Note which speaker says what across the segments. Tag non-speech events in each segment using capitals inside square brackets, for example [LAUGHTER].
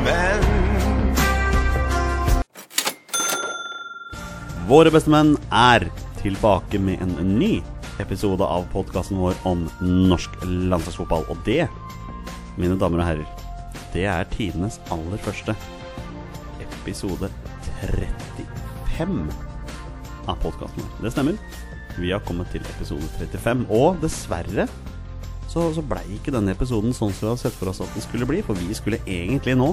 Speaker 1: bestemenn.
Speaker 2: Våre bestemenn er tilbake med en ny episode av podkasten vår om norsk landslagsfotball. Og det, mine damer og herrer, det er tidenes aller første episode 35 av podkasten vår. Det stemmer. Vi har kommet til episode 35, og dessverre så, så blei ikke denne episoden sånn som vi hadde sett for oss at den skulle bli, for vi skulle egentlig nå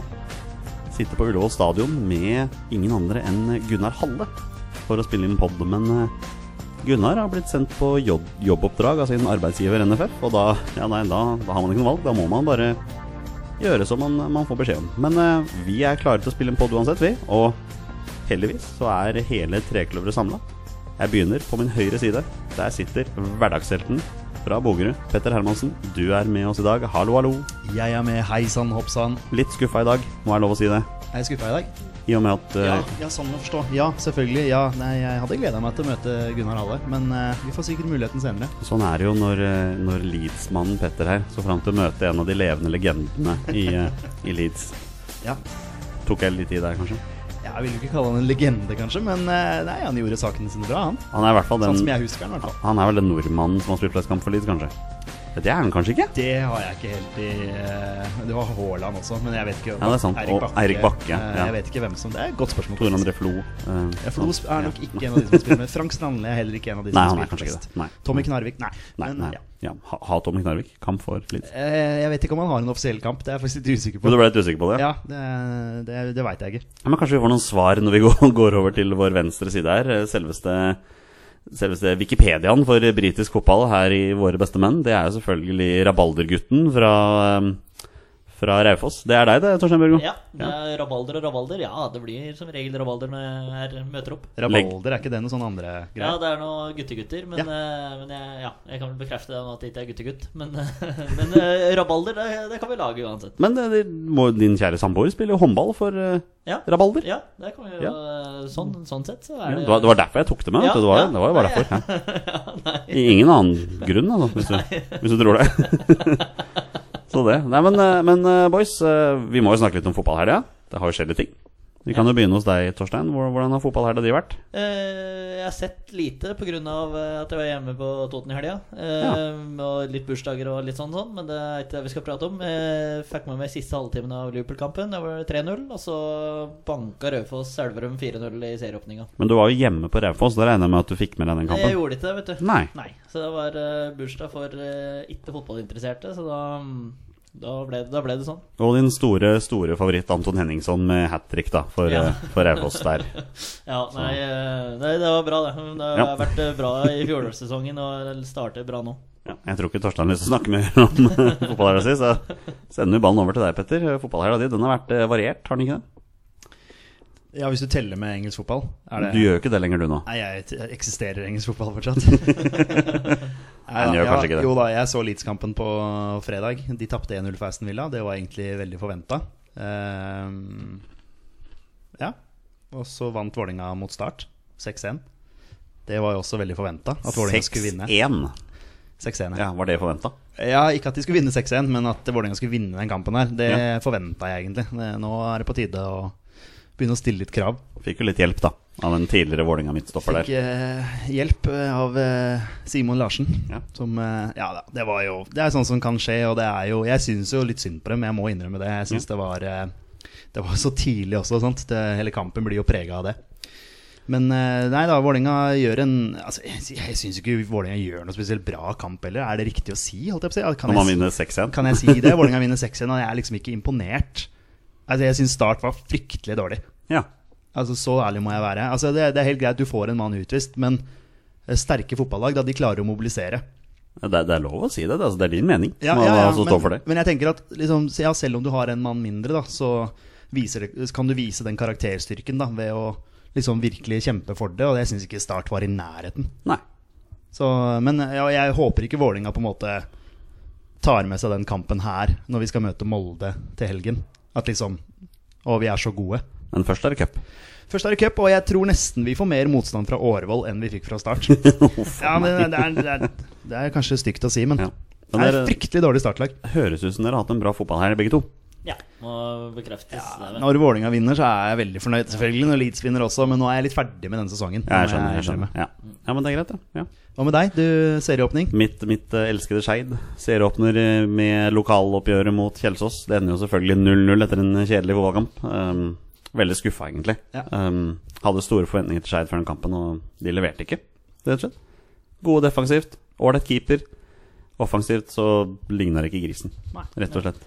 Speaker 2: sitte på Ullevål stadion med ingen andre enn Gunnar Halle for å spille inn pod, men eh, Gunnar har blitt sendt på jobb, jobboppdrag av sin arbeidsgiver NFF, og da, ja, nei, da, da har man ikke noe valg. Da må man bare gjøre som man, man får beskjed om. Men eh, vi er klare til å spille inn pod uansett, vi. Og heldigvis så er hele Trekløveret samla. Jeg begynner på min høyre side. Der sitter hverdagshelten fra Bogerud, Petter Hermansen. Du er med oss i dag. Hallo, hallo.
Speaker 3: Jeg er med. Hei sann, hopp sann.
Speaker 2: Litt skuffa i dag, må jeg lov å si det.
Speaker 3: Er jeg skuffa i dag?
Speaker 2: I og med at eh,
Speaker 3: Ja, ja, sånn å forstå. Ja, selvfølgelig. Ja, nei, jeg hadde gleda meg til å møte Gunnar Halle, men eh, vi får sikkert muligheten senere.
Speaker 2: Sånn er det jo når, eh, når Leeds-mannen Petter her så fram til å møte en av de levende legendene i, eh, i Leeds.
Speaker 3: Ja.
Speaker 2: Tok jeg litt i der, kanskje?
Speaker 3: Jeg vil jo ikke kalle han en legende, kanskje, men eh, nei, han gjorde sakene sine bra, han.
Speaker 2: Han er i hvert fall den
Speaker 3: Sånn som jeg husker han, i hvert fall.
Speaker 2: Han er vel den nordmannen som har spilt flest kamp for Leeds, kanskje? Det er han kanskje ikke?
Speaker 3: Det har jeg ikke helt i eh, Det var Haaland også, men jeg vet ikke.
Speaker 2: Ja, det er sant. Og Eirik Bakke,
Speaker 3: eh,
Speaker 2: ja.
Speaker 3: Jeg vet ikke hvem som Det er et godt spørsmål.
Speaker 2: Tor André
Speaker 3: faktisk.
Speaker 2: Flo. eh,
Speaker 3: Ja, Flo
Speaker 2: sånn.
Speaker 3: er nok ikke en av de som spiller med. Frank Strandli er heller ikke en av de som
Speaker 2: Nei, han er
Speaker 3: spiller
Speaker 2: kanskje ikke
Speaker 3: mest.
Speaker 2: det. Nei.
Speaker 3: Tommy Knarvik, nei.
Speaker 2: Nei,
Speaker 3: Men,
Speaker 2: nei.
Speaker 3: Ja.
Speaker 2: Ja, ha, ha Tommy Knarvik. Kamp for Leeds.
Speaker 3: Eh, Jeg vet ikke om han har en offisiell kamp, det er jeg faktisk litt usikker på.
Speaker 2: Men du ble litt usikker på det?
Speaker 3: Ja, det, det, det veit jeg ikke.
Speaker 2: Ja, men kanskje vi får noen svar når vi [LAUGHS] går, går over til vår venstre side her. Eh, Selveste, selveste Wikipediaen for britisk fotball her i Våre beste menn, det er jo selvfølgelig Rabaldergutten fra, eh, fra Raufoss. Det er deg det, Torstein Børgo?
Speaker 4: Ja, det er rabalder og rabalder. Ja, det blir som regel rabalder når jeg er- møter opp.
Speaker 3: Rabalder, er ikke det noe sånn andre
Speaker 4: Ja,
Speaker 3: greier?
Speaker 4: det er noen guttegutter, men,
Speaker 3: Ja.
Speaker 4: eh, men jeg, ja, jeg kan vel bekrefte det nå at jeg ikke er guttegutt. Men, men eh, rabalder, det, det kan vi lage uansett.
Speaker 2: Men det, det må, din kjære samboer spiller jo håndball for eh,
Speaker 4: Ja.
Speaker 2: Rabalder.
Speaker 4: Ja, det kan vi jo
Speaker 2: Ja.
Speaker 4: eh, sånn, sånn sett så
Speaker 2: Ja,
Speaker 4: er
Speaker 2: Det
Speaker 4: det
Speaker 2: var, det var derfor jeg tok det med.
Speaker 4: Ja,
Speaker 2: vet du, det, var,
Speaker 4: ja.
Speaker 2: det var jo bare
Speaker 4: Nei, [LAUGHS]
Speaker 2: derfor. Ja. I ingen annen grunn, altså, hvis, du, hvis du tror det. [LAUGHS] Så det. Nei, men, eh, men eh, boys, eh, vi må jo snakke litt om fotballhelga. Det har jo skjedd litt ting. Vi kan jo begynne hos deg, Torstein. Hvor- Hvordan har fotballhelga di vært?
Speaker 4: Eh, Jeg har sett lite pga. eh, at jeg var hjemme på Toten i helga. eh, Og litt bursdager og litt sånn, sånn men det er ikke det vi skal prate om. Jeg fikk med meg siste halvtimen av Liverpool-kampen. Det var 3-0. Og så banka Raufoss Elverum 4-0 i serieåpninga.
Speaker 2: Men du var jo hjemme på Raufoss, da regner jeg med at du fikk med deg den
Speaker 4: Jeg
Speaker 2: kampen?
Speaker 4: gjorde ikke det, vet du.
Speaker 2: Nei.
Speaker 4: Så det var eh, bursdag for eh, ikke fotballinteresserte, så da, mm, da, ble, det- da ble det sånn.
Speaker 2: Og din store, store favoritt Anton Henningson med hat trick da, for,
Speaker 4: Ja.
Speaker 2: eh, for Raufoss der.
Speaker 4: Ja, nei, eh, nei, det var bra, det. Det har
Speaker 2: Sånn. Ja.
Speaker 4: vært eh, bra i fjorårssesongen og starter bra nå.
Speaker 2: Ja, jeg tror ikke Torstein har lyst til å snakke mer [LAUGHS] om eh, fotballhelga si, så sender vi ballen over til deg, Petter. Fotballhelga di den har vært eh, variert, har den ikke det?
Speaker 3: Ja, hvis du teller med engelsk fotball, er det
Speaker 2: Du gjør jo ikke det lenger, du nå.
Speaker 3: Nei, jeg t- jeg eksisterer engelsk fotball [LAUGHS] fortsatt. Nei,
Speaker 2: Den gjør
Speaker 3: ja,
Speaker 2: kanskje ikke det.
Speaker 3: Jo da, jeg så Leeds-kampen på fredag. De tapte 1-0 for Aston Villa. Det var egentlig veldig forventa. Ehm, ja. Og så vant Vålinga mot Start. 6-1. Det var jo også veldig forventa at Vålinga skulle vinne.
Speaker 2: 6-1.
Speaker 3: 6-1, ja.
Speaker 2: Ja, var det forventa?
Speaker 3: Ja, Ikke at de skulle vinne 6-1, men at Vålerenga skulle vinne den kampen her. Det forventet forventa jeg egentlig. Det- Nå er det på tide å begynne å stille litt krav.
Speaker 2: Fikk jo litt hjelp, da, av en tidligere Vålinga midtstopper
Speaker 3: Fikk
Speaker 2: der.
Speaker 3: eh, hjelp eh, av eh, Simon Larsen.
Speaker 2: Ja.
Speaker 3: Som eh, Ja da, det var jo Det er sånn som kan skje, og det er jo Jeg syns jo litt synd på dem, jeg må innrømme det. Jeg syns det var eh, Det var så tidlig også, sant. Det, hele kampen blir jo prega av det. Men eh, nei da, Vålerenga gjør en altså, Jeg, sy- jeg syns ikke Vålerenga gjør noe spesielt bra kamp heller. Er det riktig å si, holdt jeg på å si? Ja, Kan
Speaker 2: Når man
Speaker 3: jeg si-
Speaker 2: vinner 6-1.
Speaker 3: kan jeg si det? Vålerenga vinner 6-1, og jeg er liksom ikke imponert. Altså, jeg syns Start var fryktelig dårlig.
Speaker 2: [LAUGHS] Ja.
Speaker 3: Altså, Så ærlig må jeg være. Altså, det, det er helt greit, du får en mann utvist, men eh, sterke fotballag, da de klarer å mobilisere.
Speaker 2: Det, det er lov å si det. det, Altså, det er din mening
Speaker 3: Ja,
Speaker 2: som
Speaker 3: ja, ja,
Speaker 2: altså står for det.
Speaker 3: men, men jeg tenker at liksom, så ja, selv om du har en mann mindre, da, så viser det, så kan du vise den karakterstyrken da, ved å liksom virkelig kjempe for det, og jeg syns ikke Start var i nærheten.
Speaker 2: Nei.
Speaker 3: Så, men ja, jeg håper ikke Vålinga på en måte tar med seg den kampen her når vi skal møte Molde til helgen. At liksom Og vi er så gode.
Speaker 2: Men først er det cup.
Speaker 3: Først er det cup, og jeg tror nesten vi får mer motstand fra Årvoll enn vi fikk fra start. [LAUGHS]
Speaker 2: Uff,
Speaker 3: ja, men det er, det, er, det er kanskje stygt å si, men
Speaker 2: Ja.
Speaker 3: det
Speaker 2: Men
Speaker 3: er
Speaker 2: dere
Speaker 3: fryktelig dårlig startlag.
Speaker 2: høres ut som dere har hatt en bra fotballhelg, begge to.
Speaker 4: Ja, må bekreftes. det vel.
Speaker 3: Når Vålinga vinner, så er jeg veldig fornøyd. Selvfølgelig når Leeds vinner også, men nå er jeg litt ferdig med denne sesongen.
Speaker 2: Ja, jeg
Speaker 3: Nå må
Speaker 2: skjønner. jeg skjønner
Speaker 3: innrømme.
Speaker 2: ja. ja, men det er greit, det. Ja.
Speaker 3: Hva med deg? Du serieåpning?
Speaker 2: Mitt, mitt eh, elskede Skeid serieåpner eh, med lokaloppgjøret mot Kjelsås. Det ender jo selvfølgelig 0-0 etter en kjedelig fotballkamp. Um, veldig skuffa, egentlig.
Speaker 3: Ja.
Speaker 2: Um, hadde store forventninger til Skeid før den kampen, og de leverte ikke, rett og slett. Gode defensivt, ålreit keeper. Offensivt så ligner det ikke grisen,
Speaker 4: Nei.
Speaker 2: rett og slett.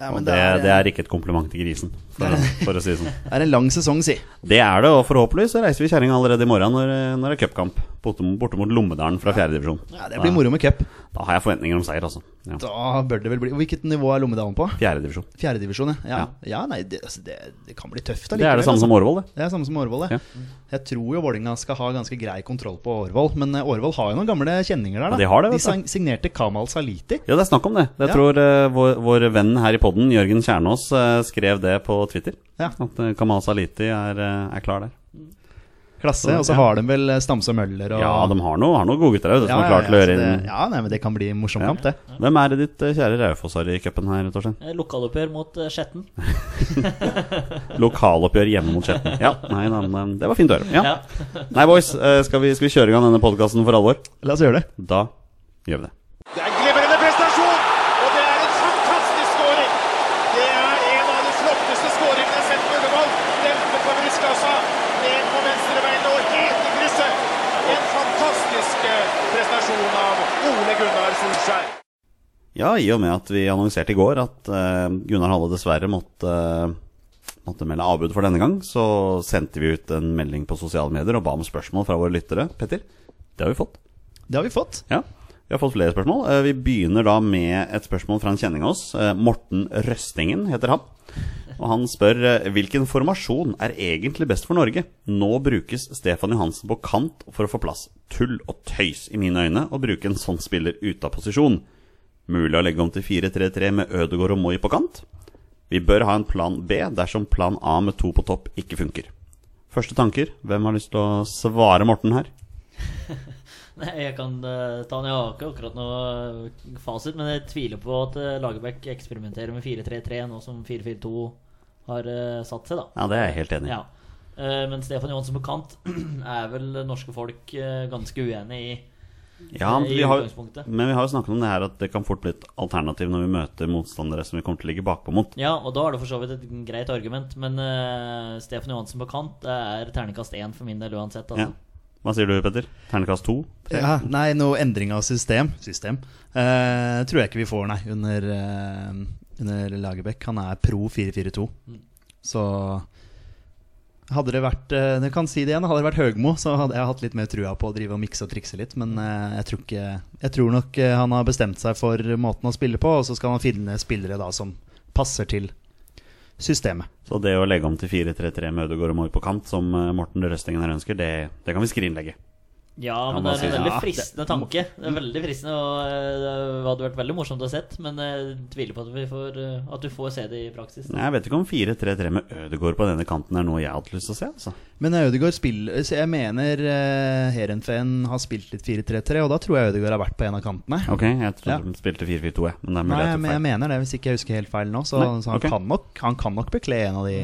Speaker 3: Ja,
Speaker 2: og
Speaker 3: men
Speaker 2: det, det er ikke et kompliment til grisen, for, å- for å si det sånn.
Speaker 3: det er en lang sesong, si.
Speaker 2: Det er det, og forhåpentligvis så reiser vi kjerringa allerede i morgen når, eh, når det er cupkamp. Borte, borte mot Lommedalen fra fjerdedivisjon.
Speaker 3: Ja, det blir moro med cup.
Speaker 2: Da har jeg forventninger om seier, altså. Ja.
Speaker 3: Da bør det vel bli Hvilket nivå er Lommedalen på?
Speaker 2: Fjerdedivisjon.
Speaker 3: Fjerdedivisjon, ja. ja. Ja, nei, det, altså, det, det kan bli tøft altså.
Speaker 2: Det er det samme som Årvoll, det.
Speaker 3: Det er samme som Årvoll, det. Jeg tror jo Vålinga skal ha ganske grei kontroll på Årvoll, men eh, Årvoll har jo noen gamle kjenninger der,
Speaker 2: Ja,
Speaker 3: da.
Speaker 2: de har det, vet
Speaker 3: de sang- signerte Kamal Saliti.
Speaker 2: Ja, det er snakk om det. Jeg
Speaker 3: Ja.
Speaker 2: tror eh, vår, vår venn her i podden, Jørgen Kjernås, eh, skrev det på Twitter.
Speaker 3: Ja.
Speaker 2: At eh, Kamal Saliti er, eh, er klar der.
Speaker 3: Klasse. Og så
Speaker 2: Ja.
Speaker 3: har de vel eh, Stamse Møller og
Speaker 2: Ja, de har noe, har noe gode gutter der ute som
Speaker 3: ja,
Speaker 2: er klare til å
Speaker 3: så
Speaker 2: gjøre
Speaker 3: det-
Speaker 2: inn
Speaker 3: ja, nei, men det kan bli en morsom
Speaker 2: Ja.
Speaker 3: kamp, det.
Speaker 2: Hvem er det ditt eh, kjære Raufoss har i cupen her, Torstein?
Speaker 4: Eh, Lokaloppgjør mot eh, Skjetten.
Speaker 2: Lokaloppgjør hjemme mot Skjetten. Ja, nei, da, men eh, det var fint å høre. Ja.
Speaker 4: Ja.
Speaker 2: Nei, boys, eh, skal vi, skal vi kjøre i gang denne podkasten for alvor?
Speaker 3: La oss gjøre det.
Speaker 2: Da gjør vi det.
Speaker 1: Det er en glimrende prestasjon, og det er en fantastisk skåring. Det er en av de flotteste skåringene jeg har sett på Ullevål. Dempe på brystkassa, ned på venstrebeinet og helt i krysset. En fantastisk eh, prestasjon av Ole Gunnar Solskjær.
Speaker 2: Ja, i og med at vi annonserte i går at eh, Gunnar Halle dessverre måtte, eh, måtte melde avbud for denne gang, så sendte vi ut en melding på sosiale medier og ba om spørsmål fra våre lyttere. Petter, det har vi fått.
Speaker 3: Det har vi fått.
Speaker 2: Ja, Vi har fått flere spørsmål. Eh, Vi begynner da med et spørsmål fra en kjenning av oss. Eh, Morten Røstingen heter han. Og han spør eh, hvilken formasjon er egentlig best for Norge? Nå brukes Stefan Johansen på kant for å få plass. Tull og tøys i mine øyne å bruke en sånn spiller ute av posisjon. Mulig å legge om til 4-3-3 med Ødegaard og Moi på kant? Vi bør ha en plan B dersom plan A med to på topp ikke funker. Første tanker. Hvem har lyst til å svare Morten her?
Speaker 4: [LAUGHS] Nei, Jeg kan eh, ta den. Jeg har ikke akkurat noe eh, fasit, men jeg tviler på at eh, Lagerbäck eksperimenterer med 4-3-3 nå som 4-4-2 har eh, satt seg, da.
Speaker 2: Ja, det er jeg helt enig i.
Speaker 4: Ja. Eh, men Stefan Johansen på kant [CLEARS THROAT] er vel norske folk eh, ganske uenig i. eh,
Speaker 2: Ja, men
Speaker 4: i
Speaker 2: vi har,
Speaker 4: utgangspunktet.
Speaker 2: men vi har jo snakket om det her at det kan fort bli et alternativ når vi møter motstandere som vi kommer til å ligge bakpå mot.
Speaker 4: Ja, og da er det for så vidt et greit argument, men eh, Stefan Johansen på kant det er terningkast én for min del uansett.
Speaker 2: Ja.
Speaker 4: Altså.
Speaker 2: Hva sier du, Petter? Ternekast to?
Speaker 3: Ja, nei, noe endring av system System eh, tror jeg ikke vi får, nei, under, eh, under Lagerbäck. Han er pro 4-4-2. Så hadde det vært eh, Jeg kan si det igjen, hadde det vært Høgmo, så hadde jeg hatt litt mer trua på å drive og mikse og trikse litt. Men eh, jeg, tror ikke, jeg tror nok eh, han har bestemt seg for måten å spille på, og så skal han finne spillere da som passer til systemet.
Speaker 2: Så det å legge om til 4-3-3 med Ødegaard og Moi på kant, som eh, Morten Røstingen her ønsker, det, det kan vi skrinlegge.
Speaker 4: Ja, men
Speaker 2: man
Speaker 4: det er en
Speaker 2: sier-
Speaker 4: veldig
Speaker 2: ja,
Speaker 4: fristende tanke. Det er veldig fristende, og eh, det hadde vært veldig morsomt å sett, men eh, jeg tviler på at, vi får, eh, at du får se det i praksis.
Speaker 2: Nei, Jeg vet ikke om 4-3-3 med Ødegaard på denne kanten er noe jeg hadde lyst til å se, altså.
Speaker 3: Men Ødegaard spiller så Jeg mener eh, Heerenveen har spilt litt 4-3-3, og da tror jeg Ødegaard har vært på en av kantene.
Speaker 2: Ok, jeg trodde
Speaker 3: Ja.
Speaker 2: de spilte 4-4-2, jeg. Men det er mulig
Speaker 3: Nei,
Speaker 2: jeg tok
Speaker 3: men jeg
Speaker 2: feil.
Speaker 3: mener det, hvis ikke jeg husker helt feil nå. Så,
Speaker 2: Nei,
Speaker 3: så han,
Speaker 2: ok.
Speaker 3: kan nok, han kan nok bekle en av de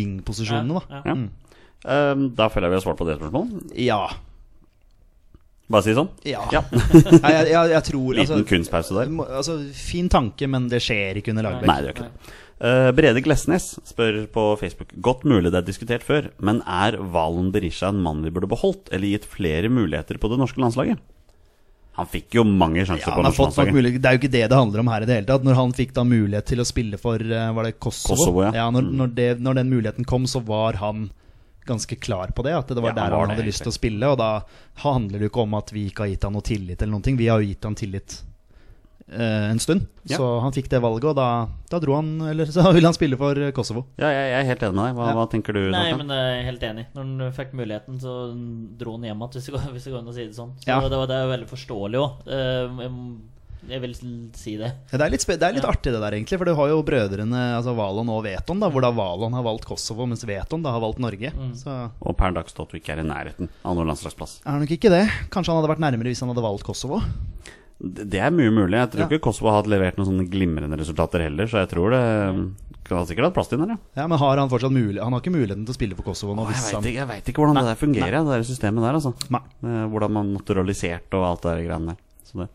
Speaker 3: vingposisjonene, da.
Speaker 4: Mm. Ja,
Speaker 2: Ja. Ehm, da føler jeg vi har svart på det spørsmålet.
Speaker 3: Ja.
Speaker 2: Bare si sånn.
Speaker 3: Ja.
Speaker 2: Ja. [LAUGHS]
Speaker 3: Nei, jeg, jeg, jeg tror
Speaker 2: Liten
Speaker 3: Ah. altså,
Speaker 2: kunstpause der.
Speaker 3: må- altså, Fin tanke, men det skjer ikke under
Speaker 2: Nei,
Speaker 3: Lagerbäck.
Speaker 2: det gjør ikke det. Eh, Brede Glesnes spør på Facebook Godt mulig det er diskutert før, men er Valen Berisha en mann vi burde beholdt, eller gitt flere muligheter på det norske landslaget? Han fikk jo mange sjanser
Speaker 3: Ja,
Speaker 2: på det
Speaker 3: han har
Speaker 2: norske
Speaker 3: fått nok
Speaker 2: landslaget.
Speaker 3: mulighet, det er jo ikke det det handler om her i det hele tatt. Når han fikk da mulighet til å spille for eh, Var det Kosovo?
Speaker 2: Kosovo, ja. Mm.
Speaker 3: når, når, det, når den muligheten kom, så var han ganske klar på det. At det var
Speaker 2: Ja, han
Speaker 3: der
Speaker 2: var
Speaker 3: han hadde
Speaker 2: det,
Speaker 3: lyst til å spille. Og da handler det jo ikke om at vi ikke har gitt han noe tillit eller noen ting. Vi har jo gitt han tillit eh, en stund.
Speaker 2: Ja.
Speaker 3: Så han fikk det valget, og da, da dro han Eller så [LAUGHS] ville han spille for eh, Kosovo.
Speaker 2: Ja, jeg, jeg er helt enig med deg. Hva,
Speaker 3: Ja.
Speaker 2: hva tenker du?
Speaker 4: Nei,
Speaker 2: Nathan?
Speaker 4: men eh, jeg er helt enig. Når han fikk muligheten, så dro han hjem igjen, hvis det går- hvis det går an å si det sånn. Så
Speaker 3: Ja.
Speaker 4: det, var, det er veldig forståelig òg. Jeg vil si det.
Speaker 3: Ja, Det er litt, spe det er litt artig det der, egentlig. For du har jo brødrene altså Valon og Veton, da, hvor da Valon har valgt Kosovo, mens Veton da har valgt Norge.
Speaker 2: Mm.
Speaker 3: Så
Speaker 2: Og per dags dato ikke er i nærheten av noen landslagsplass.
Speaker 3: Er nok ikke det. Kanskje han hadde vært nærmere hvis han hadde valgt Kosovo.
Speaker 2: Det det er mye mulig. Jeg tror
Speaker 3: Ja.
Speaker 2: ikke Kosovo har hatt levert noen sånne glimrende resultater heller, så jeg tror det kan sikkert ha hatt plass til den der, ja.
Speaker 3: Ja, Men har han fortsatt mulig Han har ikke muligheten til å spille for Kosovo nå?
Speaker 2: Jeg
Speaker 3: Hvis
Speaker 2: vet
Speaker 3: han...
Speaker 2: ikke, jeg vet ikke hvordan det der fungerer, det der systemet der, altså.
Speaker 3: Nei.
Speaker 2: Eh, Hvordan man naturaliserte og alt det der greiene der. Så det.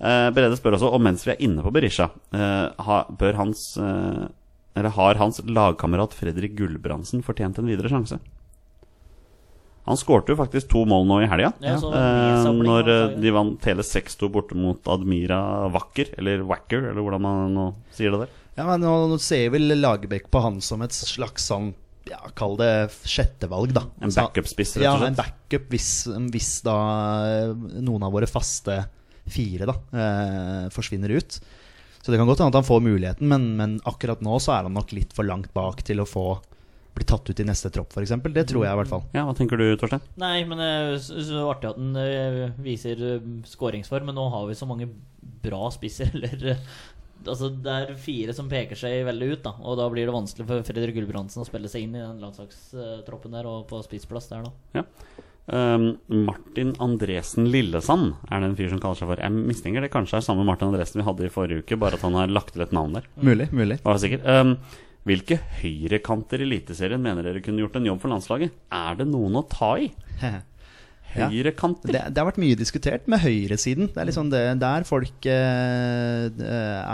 Speaker 2: Eh, Brede spør også om mens vi er inne på Berisha, eh, ha, bør hans eh, Eller har hans lagkamerat Fredrik Gulbrandsen fortjent en videre sjanse? Han skårte jo faktisk to mål nå i helga.
Speaker 4: Ja, så det var mye
Speaker 2: eh,
Speaker 4: samling
Speaker 2: når
Speaker 4: av
Speaker 2: eh,
Speaker 4: laget.
Speaker 2: de vant hele 6-2 borte mot Admira Wacker, eller Wacker, eller hvordan man nå sier det der.
Speaker 3: Ja, men nå, nå ser vel Lagerbäck på han som et slags sånn ja, Kall det sjettevalg, da.
Speaker 2: En
Speaker 3: Så-
Speaker 2: backup-spiss, rett
Speaker 3: Altså, Ja,
Speaker 2: og slett.
Speaker 3: en backup hvis, hvis da eh, noen av våre faste fire da eh, forsvinner ut. Så det kan godt hende at han får muligheten, men, men akkurat nå så er han nok litt for langt bak til å få bli tatt ut i neste tropp, f.eks. Det tror jeg i hvert fall.
Speaker 2: Ja, hva tenker du, Torstein?
Speaker 4: Nei, men eh, s- s- det er artig at den eh, viser eh, skåringsform, men nå har vi så mange bra spisser, [LAUGHS] eller eh, Altså, det er fire som peker seg veldig ut, da, og da blir det vanskelig for Fredrik Gulbrandsen å spille seg inn i den landslagstroppen der og på spissplass der nå.
Speaker 2: Ja. Ehm, Martin Andresen Lillesand er det en fyr som kaller seg for. Jeg mistenker det kanskje er samme Martin Andresen vi hadde i forrige uke, bare at han har lagt til et navn der.
Speaker 3: Mulig, mulig.
Speaker 2: [LAUGHS]
Speaker 3: [LAUGHS]
Speaker 2: Var jeg sikker. Ehm, hvilke høyrekanter i Eliteserien mener dere kunne gjort en jobb for landslaget? Er det noen å ta i?
Speaker 3: Ja.
Speaker 2: Høyrekanter?
Speaker 3: Det, det har vært mye diskutert med høyresiden. Det er liksom det, der folk eh,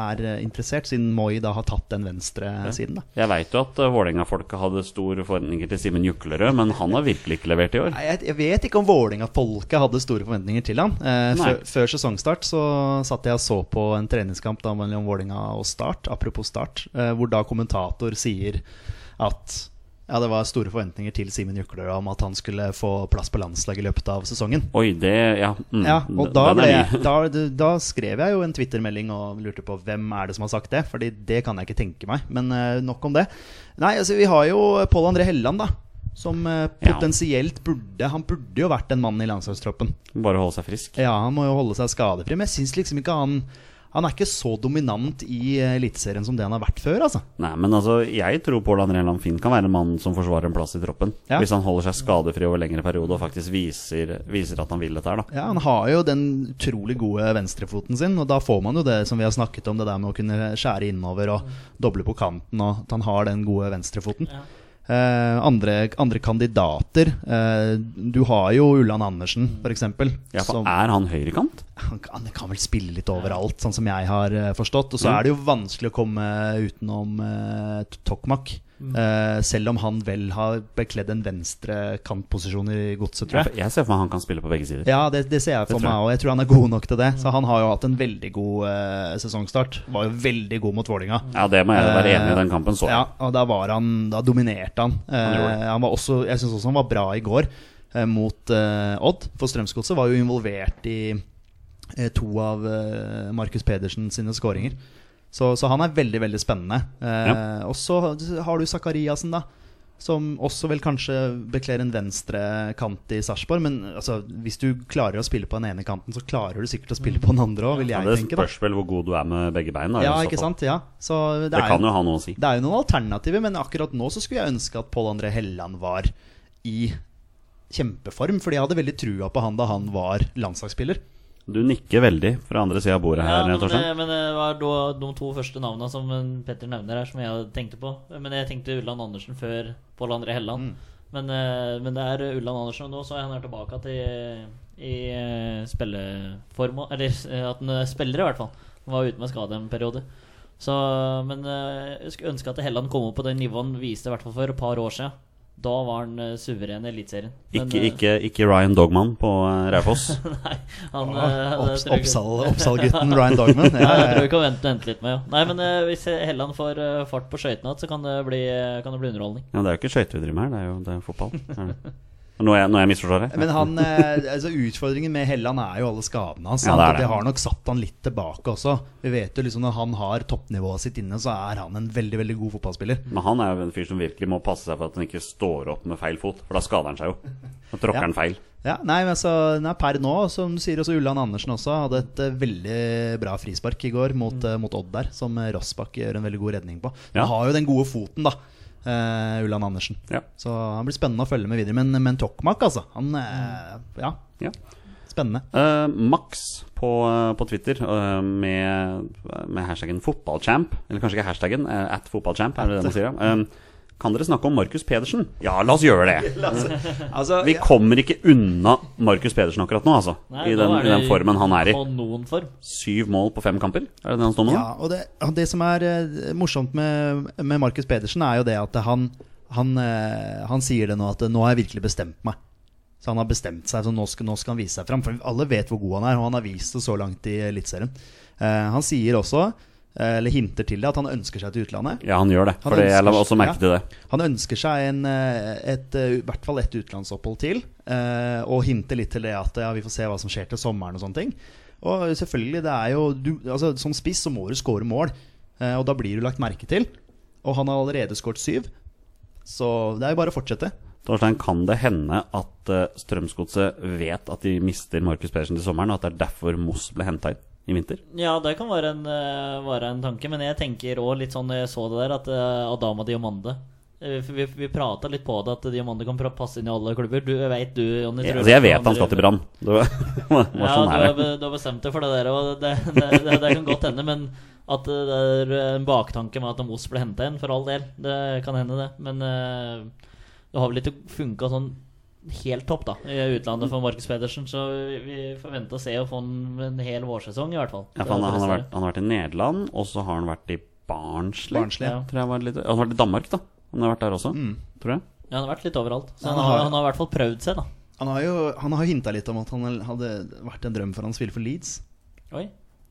Speaker 3: er interessert, siden Moi da har tatt den venstresiden. da.
Speaker 2: Jeg veit jo at eh, Vålerenga-folka hadde store forventninger til Simen Juklerød, men han har virkelig ikke levert i år.
Speaker 3: Nei, jeg, jeg vet ikke om Vålerenga-folket hadde store forventninger til han. Eh,
Speaker 2: Nei.
Speaker 3: før, før sesongstart så satt jeg og så på en treningskamp da mellom Vålerenga og Start, apropos Start, eh, hvor da kommentator sier at ja, det var store forventninger til Simen Juklerød om at han skulle få plass på landslaget i løpet av sesongen.
Speaker 2: Oi, det Ja. mm,
Speaker 3: Ja, og da,
Speaker 2: den er
Speaker 3: ble
Speaker 2: ny.
Speaker 3: jeg, da, da skrev jeg jo en Twitter-melding og lurte på hvem er det som har sagt det. Fordi det kan jeg ikke tenke meg. Men eh, nok om det. Nei, altså vi har jo Pål André Helleland, da. Som eh,
Speaker 2: Ja.
Speaker 3: potensielt burde Han burde jo vært en mann i landslagstroppen.
Speaker 2: [LAUGHS] Bare holde seg frisk.
Speaker 3: Ja, han må jo holde seg skadefri. Men jeg syns liksom ikke han Han er ikke så dominant i eh, Eliteserien som det han har vært før, altså.
Speaker 2: Nei, men altså, jeg tror Pål André Land Finn kan være en mann som forsvarer en plass i troppen.
Speaker 3: Ja.
Speaker 2: Hvis han holder seg skadefri over lengre periode og faktisk viser, viser at han vil dette her, da.
Speaker 3: Ja, Han har jo den utrolig gode venstrefoten sin, og da får man jo det som vi har snakket om, det der med å kunne skjære innover og doble på kanten, og at han har den gode venstrefoten.
Speaker 4: Ja.
Speaker 3: Eh, andre, andre kandidater eh, Du har jo Ulland Andersen, f.eks.
Speaker 2: Ja, for er han høyrekant?
Speaker 3: Han, kan- han kan vel spille litt overalt, sånn som jeg har eh, forstått. Og så
Speaker 2: Mm.
Speaker 3: er det jo vanskelig å komme utenom eh, T- Tokmak. Eh, selv om han vel har bekledd en venstre kantposisjon i godset, tror jeg.
Speaker 2: Ja, for Jeg ser for meg han kan spille på begge sider.
Speaker 3: Ja, det, det ser jeg for
Speaker 2: tror
Speaker 3: meg
Speaker 2: jeg.
Speaker 3: òg. Jeg tror han er god nok til det. Så han har jo hatt en veldig god eh, sesongstart. Var jo veldig god mot Vålinga.
Speaker 2: Ja, det må jeg være enig i. Den kampen så
Speaker 3: Eh, Ja,
Speaker 2: jeg.
Speaker 3: og da var han Da dominerte han. Eh,
Speaker 2: Han gjorde
Speaker 3: han var også, jeg syns også han var bra i går eh, mot eh, Odd. For Strømsgodset var jo involvert i eh, to av eh, Markus Pedersen sine skåringer. Så, så han er veldig, veldig spennende. Eh, Og så har du Sakariassen, da. Som også vel kanskje bekler en venstre kant i Sarpsborg. Men altså, hvis du klarer å spille på den ene kanten, så klarer du sikkert å spille på den andre òg, vil
Speaker 2: Ja,
Speaker 3: jeg
Speaker 2: det
Speaker 3: tenke. da
Speaker 2: spørs vel hvor god du er med begge bein. Da, i
Speaker 3: Ja,
Speaker 2: så
Speaker 3: ikke
Speaker 2: fall.
Speaker 3: sant? Ja. Så det,
Speaker 2: Det
Speaker 3: er
Speaker 2: kan jo ha noe å si.
Speaker 3: det er jo noen alternativer, men akkurat nå så skulle jeg ønske at Pål André Helleland var i kjempeform, fordi jeg hadde veldig trua på han da han var landslagsspiller.
Speaker 2: Du nikker veldig fra andre sida av bordet
Speaker 4: Ja,
Speaker 2: her,
Speaker 4: men,
Speaker 2: Torstein.
Speaker 4: det, men det var da de to første navnene som eh, Petter nevner her, som jeg tenkte på. Men jeg tenkte Ulland Andersen før Pål André
Speaker 2: Mm.
Speaker 4: Helland. Men, eh, men det er Ulland Andersen, og nå så er han her tilbake til i eh, spilleform også, Eller eh, at han er spiller, i hvert fall. Han var ute med skade en periode. Så, men eh, jeg skulle ønske at Helland kom opp på det nivået han viste i hvert fall for et par år siden. Da var han eh, suveren i Eliteserien. Men,
Speaker 2: Ikke,
Speaker 4: eh,
Speaker 2: ikke, ikke Ryan Dogman på eh, Raufoss.
Speaker 4: [LAUGHS]
Speaker 3: [LAUGHS]
Speaker 4: Nei, han eh, det
Speaker 3: Opps,
Speaker 4: tror jeg ikke.
Speaker 3: Oppsal- Oppsal-gutten Ryan
Speaker 2: [LAUGHS]
Speaker 3: Dogman. Ja,
Speaker 4: Ja,
Speaker 3: ja,
Speaker 4: jeg [LAUGHS] tror vi
Speaker 3: ja.
Speaker 4: kan vente, vente litt med ja. Nei, men eh, hvis Helland får eh, fart på skøytene igjen, så kan det bli, eh, kan det bli underholdning.
Speaker 2: Ja, det er jo ikke skøyter vi driver med her, det er jo det er fotball. Er det? Nå er jeg, nå er jeg misforstår det?
Speaker 3: Men han, eh, altså utfordringen med Helland er jo alle skadene hans.
Speaker 2: Ja,
Speaker 3: sant?
Speaker 2: det er
Speaker 3: Og
Speaker 2: det.
Speaker 3: det har nok satt han litt tilbake også. Vi vet jo liksom Når han har toppnivået sitt inne, så er han en veldig veldig god fotballspiller.
Speaker 2: Men han er jo en fyr som virkelig må passe seg for at han ikke står opp med feil fot, for da skader han seg jo. Da tråkker
Speaker 3: Ja.
Speaker 2: han feil.
Speaker 3: Ja, nei, men altså, nei, Per nå, som du sier, også Ulland Andersen også hadde et eh, veldig bra frispark i går mot, eh, mot Odd der, som eh, Rossbakk gjør en veldig god redning på. Han
Speaker 2: Ja.
Speaker 3: har jo den gode foten, da, eh, Ulland Andersen.
Speaker 2: Ja.
Speaker 3: Så han blir spennende å følge med videre. Men, men Tokmak, altså. Han eh, Ja,
Speaker 2: ja.
Speaker 3: Spennende.
Speaker 2: Eh, Max på, eh, på Twitter eh, med, med hashtaggen 'fotballchamp', eller kanskje ikke hashtaggen, eh, at fotballchamp, er det det man sier? ja? Eh, kan dere snakke om Markus Pedersen? Ja, la oss gjøre
Speaker 3: [LAUGHS]
Speaker 2: det!
Speaker 3: Altså,
Speaker 2: Vi kommer ikke unna Markus Pedersen akkurat nå, altså. I den, i den formen han er i.
Speaker 4: Kanonform.
Speaker 2: Syv mål på fem kamper, er det det han står med nå?
Speaker 3: Ja, og det, og det som er eh, morsomt med, med Markus Pedersen, er jo det at han, han, eh, han sier det nå at nå har jeg virkelig bestemt meg. Så han har bestemt seg, så nå skal, nå skal han vise seg fram. For alle vet hvor god han er, og han har vist det så langt i Eliteserien. Eh, han sier også, eh, eller hinter til det, at han ønsker seg til utlandet.
Speaker 2: Ja, han gjør det.
Speaker 3: Han
Speaker 2: For jeg la
Speaker 3: ønsker-
Speaker 2: også merke
Speaker 3: ja.
Speaker 2: til det.
Speaker 3: Han ønsker seg en, eh, et, eh, i hvert fall ett utenlandsopphold til, eh, og hinter litt til det at ja, vi får se hva som skjer til sommeren og sånne ting. Og selvfølgelig, det er jo du, altså, Som spiss så må du score mål, eh, og da blir du lagt merke til. Og han har allerede skåret syv, så det er jo bare å fortsette.
Speaker 2: Torstein, kan det hende at eh, Strømsgodset vet at de mister Markus Pedersen til sommeren, og at det er derfor Moss ble henta inn i vinter?
Speaker 4: Ja, det kan være en, eh, være en tanke, men jeg tenker òg litt sånn når jeg så det der, at eh, Adama Diomande eh, Vi, vi, vi prata litt på det, at Diomande kan pra- passe inn i alle klubber. Du jeg vet du, Jonny
Speaker 2: Jeg,
Speaker 4: tror
Speaker 2: altså, jeg
Speaker 4: du-
Speaker 2: vet han skal til Brann. Det var, [LAUGHS] det var
Speaker 4: Ja,
Speaker 2: sånn
Speaker 4: du,
Speaker 2: er
Speaker 4: har
Speaker 2: det.
Speaker 4: be- du har bestemt deg for det der, og det, det, det, det kan godt hende. Men at det er en baktanke med at Moss ble henta inn, for all del. Det kan hende, det. Men eh, det har vel ikke funka sånn helt topp, da, i utlandet for Markus Pedersen. Så vi- vi forventer å se å få han en hel vårsesong, i hvert fall.
Speaker 2: Ja, for han, han, har
Speaker 4: Det
Speaker 2: vært, han har vært i Nederland, og så har han vært i Barnsley.
Speaker 3: Barnsley.
Speaker 4: Ja.
Speaker 2: Tror jeg var litt, han har vært i Danmark, da. Han har vært der også, tror jeg.
Speaker 4: Ja, han har vært litt overalt. Så
Speaker 3: Ja,
Speaker 4: han
Speaker 3: han
Speaker 4: har,
Speaker 3: har-
Speaker 4: han har i hvert fall prøvd seg, da.
Speaker 3: Han har jo han har hinta litt om at han hadde vært en drøm for han å spille for Leeds.
Speaker 4: Oi.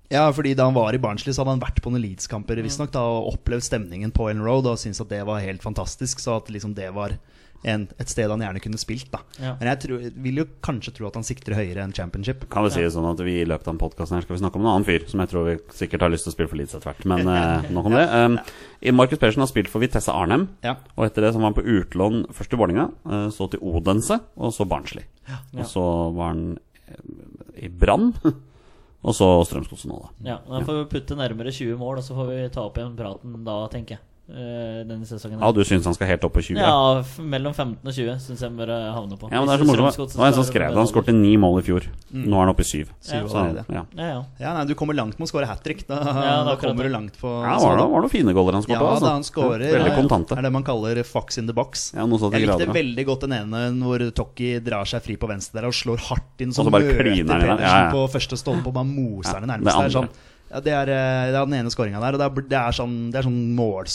Speaker 3: Ja, fordi da han var i Barnsley, så hadde han vært på noen Leeds-kamper visstnok da, og opplevd stemningen på Ellen Road og syntes at det var helt fantastisk. Så at liksom det var en, et sted han gjerne kunne spilt, da.
Speaker 4: Ja.
Speaker 3: Men jeg, tror, jeg vil jo kanskje tro at han sikter høyere enn championship.
Speaker 2: Kan vi si det sånn at vi i løpet av denne podkasten skal vi snakke om en annen fyr som jeg tror vi sikkert har lyst til å spille for Leeds etter hvert, men eh, nok om det. Um, Markus Pedersen har spilt for Vitesse Arnhem,
Speaker 3: Ja.
Speaker 2: og etter det så var han på utlån først til Vålerenga, eh, så til Odense, og så Barnsley. Og så var han eh, i Brann, [LAUGHS] og så Strømsgodset nå, da.
Speaker 4: Ja, da får vi putte nærmere 20 mål, og så får vi ta opp igjen praten da, tenker jeg. eh, Denne sesongen. her.
Speaker 2: Ja, du syns han skal helt opp på 20?
Speaker 4: Ja, f- mellom 15 og 20 syns jeg bør eh, havne på.
Speaker 2: Ja, men det er så morsomt. Det var en som skrev det. Han skårte ni mål i fjor.
Speaker 3: Mm.
Speaker 2: Nå er han oppe i syv.
Speaker 4: Syv
Speaker 2: Så,
Speaker 3: allerede.
Speaker 2: ja.
Speaker 4: Ja, ja.
Speaker 3: ja, nei, du kommer langt med å score hat trick. Da,
Speaker 4: det er
Speaker 3: da
Speaker 4: akkurat
Speaker 3: kommer
Speaker 4: det.
Speaker 3: du langt på
Speaker 2: Ja, var det, var det fine goller han
Speaker 3: Ja,
Speaker 2: skåret? altså.
Speaker 3: da han scorer.
Speaker 2: Veldig kontante.
Speaker 3: Det er det man kaller fox in the box.
Speaker 2: Ja, noe sånn sånt i
Speaker 3: jeg likte
Speaker 2: grader, da.
Speaker 3: veldig godt den ene hvor Tokki drar seg fri på venstre der og slår hardt inn.
Speaker 2: Og så
Speaker 3: Som
Speaker 2: bare
Speaker 3: møter
Speaker 2: kliner han i den.
Speaker 3: Pedersen
Speaker 2: Ja, ja.
Speaker 3: på første stolpe og bare moser den
Speaker 2: Ja,
Speaker 3: nærmest. Det
Speaker 2: det
Speaker 3: er,
Speaker 2: andre.
Speaker 3: sånn, ja, det, er, eh, det er den ene skåringa der. Og det er, det er sånn, det er sånn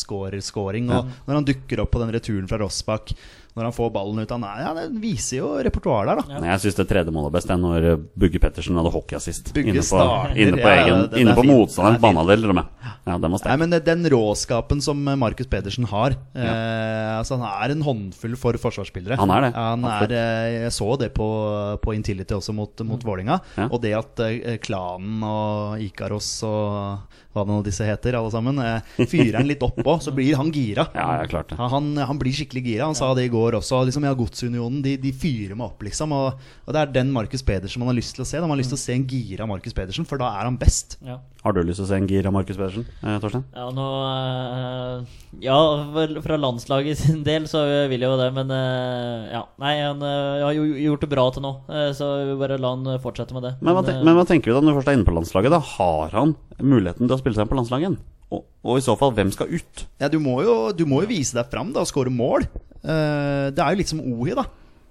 Speaker 3: målskårerscoring. Og når han dukker opp på den returen fra Rossbakk, når han får ballen ut han er, ja, Det viser jo repertoaret der, da.
Speaker 2: Nei, jeg syns det tredje målet er best, det er når eh, Bugge Pettersen hadde hockeyassist.
Speaker 3: Bugge
Speaker 2: Inne på,
Speaker 3: starter,
Speaker 2: inne på,
Speaker 3: ja, ja,
Speaker 2: egen,
Speaker 3: det- det
Speaker 2: inne
Speaker 3: er
Speaker 2: på
Speaker 3: fint.
Speaker 2: motstanderen.
Speaker 3: Det er fint.
Speaker 2: Banna det, eller noe? Ja, den var
Speaker 3: Nei,
Speaker 2: sterk.
Speaker 3: men det- Den råskapen som eh, Markus Pedersen har eh, altså Han er en håndfull for forsvarsspillere.
Speaker 2: Han er det,
Speaker 3: Ja, Han
Speaker 2: absolutt. Mm.
Speaker 3: er, eh, jeg så det på, på Intility også mot, mot Vålinga.
Speaker 2: Ja.
Speaker 3: Og det at eh, Klanen og Ikaros og hva det nå disse heter, alle sammen, eh, fyrer han litt oppå, så blir han gira.
Speaker 2: Ja, ja, klart det.
Speaker 3: Ja, Han, han blir skikkelig gira. Han sa det i går også. Liksom, ja, Godsunionen de, de fyrer meg opp, liksom. Og, og det er den Markus Pedersen man har lyst til å se. Da. Man har
Speaker 2: Mm.
Speaker 3: lyst til å se en gira Markus Pedersen, for da er han best.
Speaker 4: ja.
Speaker 2: Har du lyst til å se en gir av Markus Pedersen, eh, Torstein?
Speaker 4: Ja, nå eh, Ja, vel, fra landslaget sin del så vil jeg jo det, men eh, ja. Nei, han eh, har jo gjort det bra til nå, eh, så vi bare la han fortsette med det.
Speaker 2: Men hva, tenk,
Speaker 4: eh,
Speaker 2: men hva tenker vi da når du først er inne på landslaget? Da Har han muligheten til å spille seg inn på landslaget igjen? Og, og i så fall, hvem skal ut?
Speaker 3: Ja, du må jo, du må jo vise deg fram da, og skåre mål. Eh, det er jo litt som Ohi, da.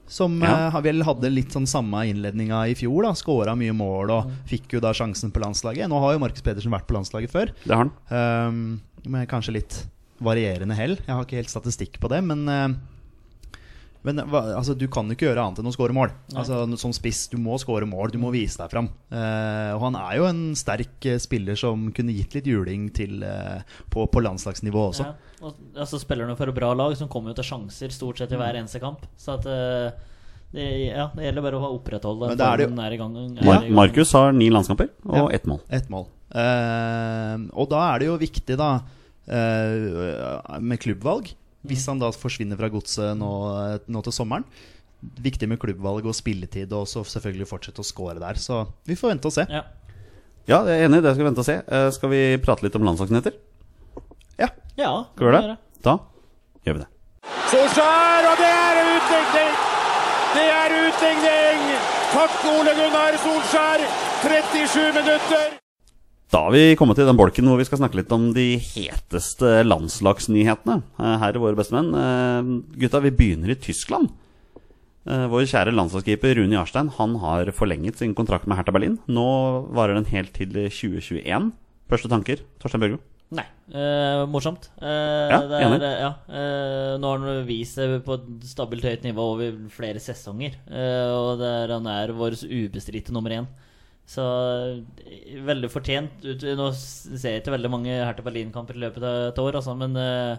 Speaker 3: Som
Speaker 2: Ja.
Speaker 3: eh, har vel hadde litt sånn samme innledninga i fjor. da Skåra mye mål og fikk jo da sjansen på landslaget. Nå har jo Markus Pedersen vært på landslaget før,
Speaker 2: Det har han.
Speaker 3: um, med kanskje litt varierende hell. Jeg har ikke helt statistikk på det, men eh, men hva, altså, du kan jo ikke gjøre annet enn å skåre mål. Altså, som spiss, Du må skåre mål, du må vise deg fram. Eh, og han er jo en sterk eh, spiller som kunne gitt litt juling til, eh, på, på landslagsnivå også.
Speaker 4: Ja. Og og så spiller han jo for et bra lag som kommer jo til sjanser stort sett i
Speaker 2: Mm.
Speaker 4: hver eneste kamp. Så at eh, det, ja, det gjelder bare å opprettholde
Speaker 3: Men da er det jo-
Speaker 4: formen er i gang. er
Speaker 2: Mar
Speaker 4: i gang.
Speaker 2: Markus har ni landskamper og
Speaker 3: Ja.
Speaker 2: ett mål.
Speaker 3: Ett mål. Eh, og da er det jo viktig, da, eh, med klubbvalg. Hvis han da forsvinner fra godset nå, nå til sommeren. Viktig med klubbvalg og spilletid, og så selvfølgelig fortsette å score der. Så vi får vente og se.
Speaker 4: Ja.
Speaker 2: Ja, jeg er enig, det skal vi vente og se. Eh, skal vi prate litt om landslagsnyheter?
Speaker 3: Ja,
Speaker 4: ja
Speaker 2: Skal vi gjøre det? Da gjør vi det.
Speaker 1: Solskjær, og det er utligning! Det er utligning! Takk, Ole Gunnar Solskjær. 37 minutter.
Speaker 2: Da har vi kommet til den bolken hvor vi skal snakke litt om de heteste landslagsnyhetene. Eh, Her er våre bestemenn. Eh, Gutta, vi begynner i Tyskland. Eh, Vår kjære landslagskeeper Rune Jarstein han har forlenget sin kontrakt med Hertha Berlin. Nå varer den helt til 2021. Første tanker, Torstein Børgo?
Speaker 4: Nei. eh, morsomt. Eh,
Speaker 2: Ja,
Speaker 4: det
Speaker 2: enig.
Speaker 4: er, eh, ja, eh, nå har han vist seg på et stabilt høyt nivå over flere sesonger. eh, og det er, han er vår ubestridte nummer én. Så eh, veldig fortjent. Ut, nå ser jeg ikke veldig mange Hertha Berlin-kamper i løpet av et år, altså, men eh,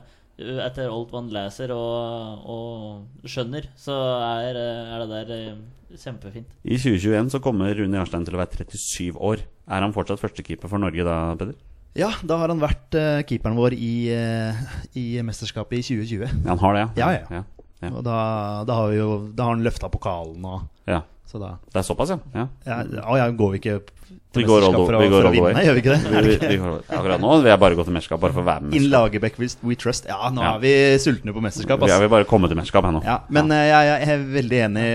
Speaker 4: etter alt man leser og, og skjønner, så er, eh, er det der eh, kjempefint.
Speaker 2: I 2021 så kommer Rune Jarstein til å være 37 år. Er han fortsatt førstekeeper for Norge da, Peder?
Speaker 3: Ja, da har han vært eh, keeperen vår i, eh, i mesterskapet i 2020.
Speaker 2: Ja, han har det,
Speaker 3: Ja, ja.
Speaker 2: ja. ja,
Speaker 3: Og da, da, har vi jo, da har han løfta pokalen og
Speaker 2: ja.
Speaker 3: Så da
Speaker 2: Det er såpass, ja? ja.
Speaker 3: ja, Å ja, går vi ikke
Speaker 2: Vi
Speaker 3: til
Speaker 2: går all
Speaker 3: mesterskap for
Speaker 2: the-
Speaker 3: å,
Speaker 2: vi går
Speaker 3: for å
Speaker 2: all the way.
Speaker 3: vinne? Gjør vi ikke
Speaker 2: Vi,
Speaker 3: det?
Speaker 2: vi, vi, akkurat nå vil jeg bare gå til mesterskap, bare for å være med. i
Speaker 3: In
Speaker 2: mesterskap.
Speaker 3: Lagerbäck we we trust. Ja, nå
Speaker 2: Ja.
Speaker 3: er vi sultne på mesterskap.
Speaker 2: Vi
Speaker 3: ass.
Speaker 2: har vel bare kommet til mesterskap her nå.
Speaker 3: Ja, men eh, jeg, jeg er veldig enig.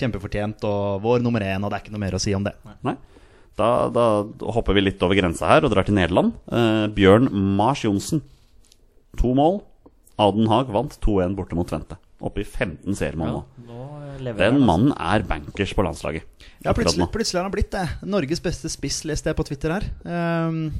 Speaker 3: Kjempefortjent og vår nummer én, og det er ikke noe mer å si om det.
Speaker 2: Nei. Da, da hopper vi litt over grensa her og drar til Nederland. Eh, Bjørn Mars Johnsen. To mål. Aden Haag vant 2-1 borte mot Tvente. Oppe i 15 seriemål nå.
Speaker 4: Nå lever
Speaker 2: Den
Speaker 4: han, altså.
Speaker 2: mannen er bankers på landslaget.
Speaker 3: Ja,
Speaker 2: akkurat
Speaker 3: plutselig,
Speaker 2: nå.
Speaker 3: plutselig har han blitt det. Norges beste spiss, leste jeg på Twitter her. Ehm,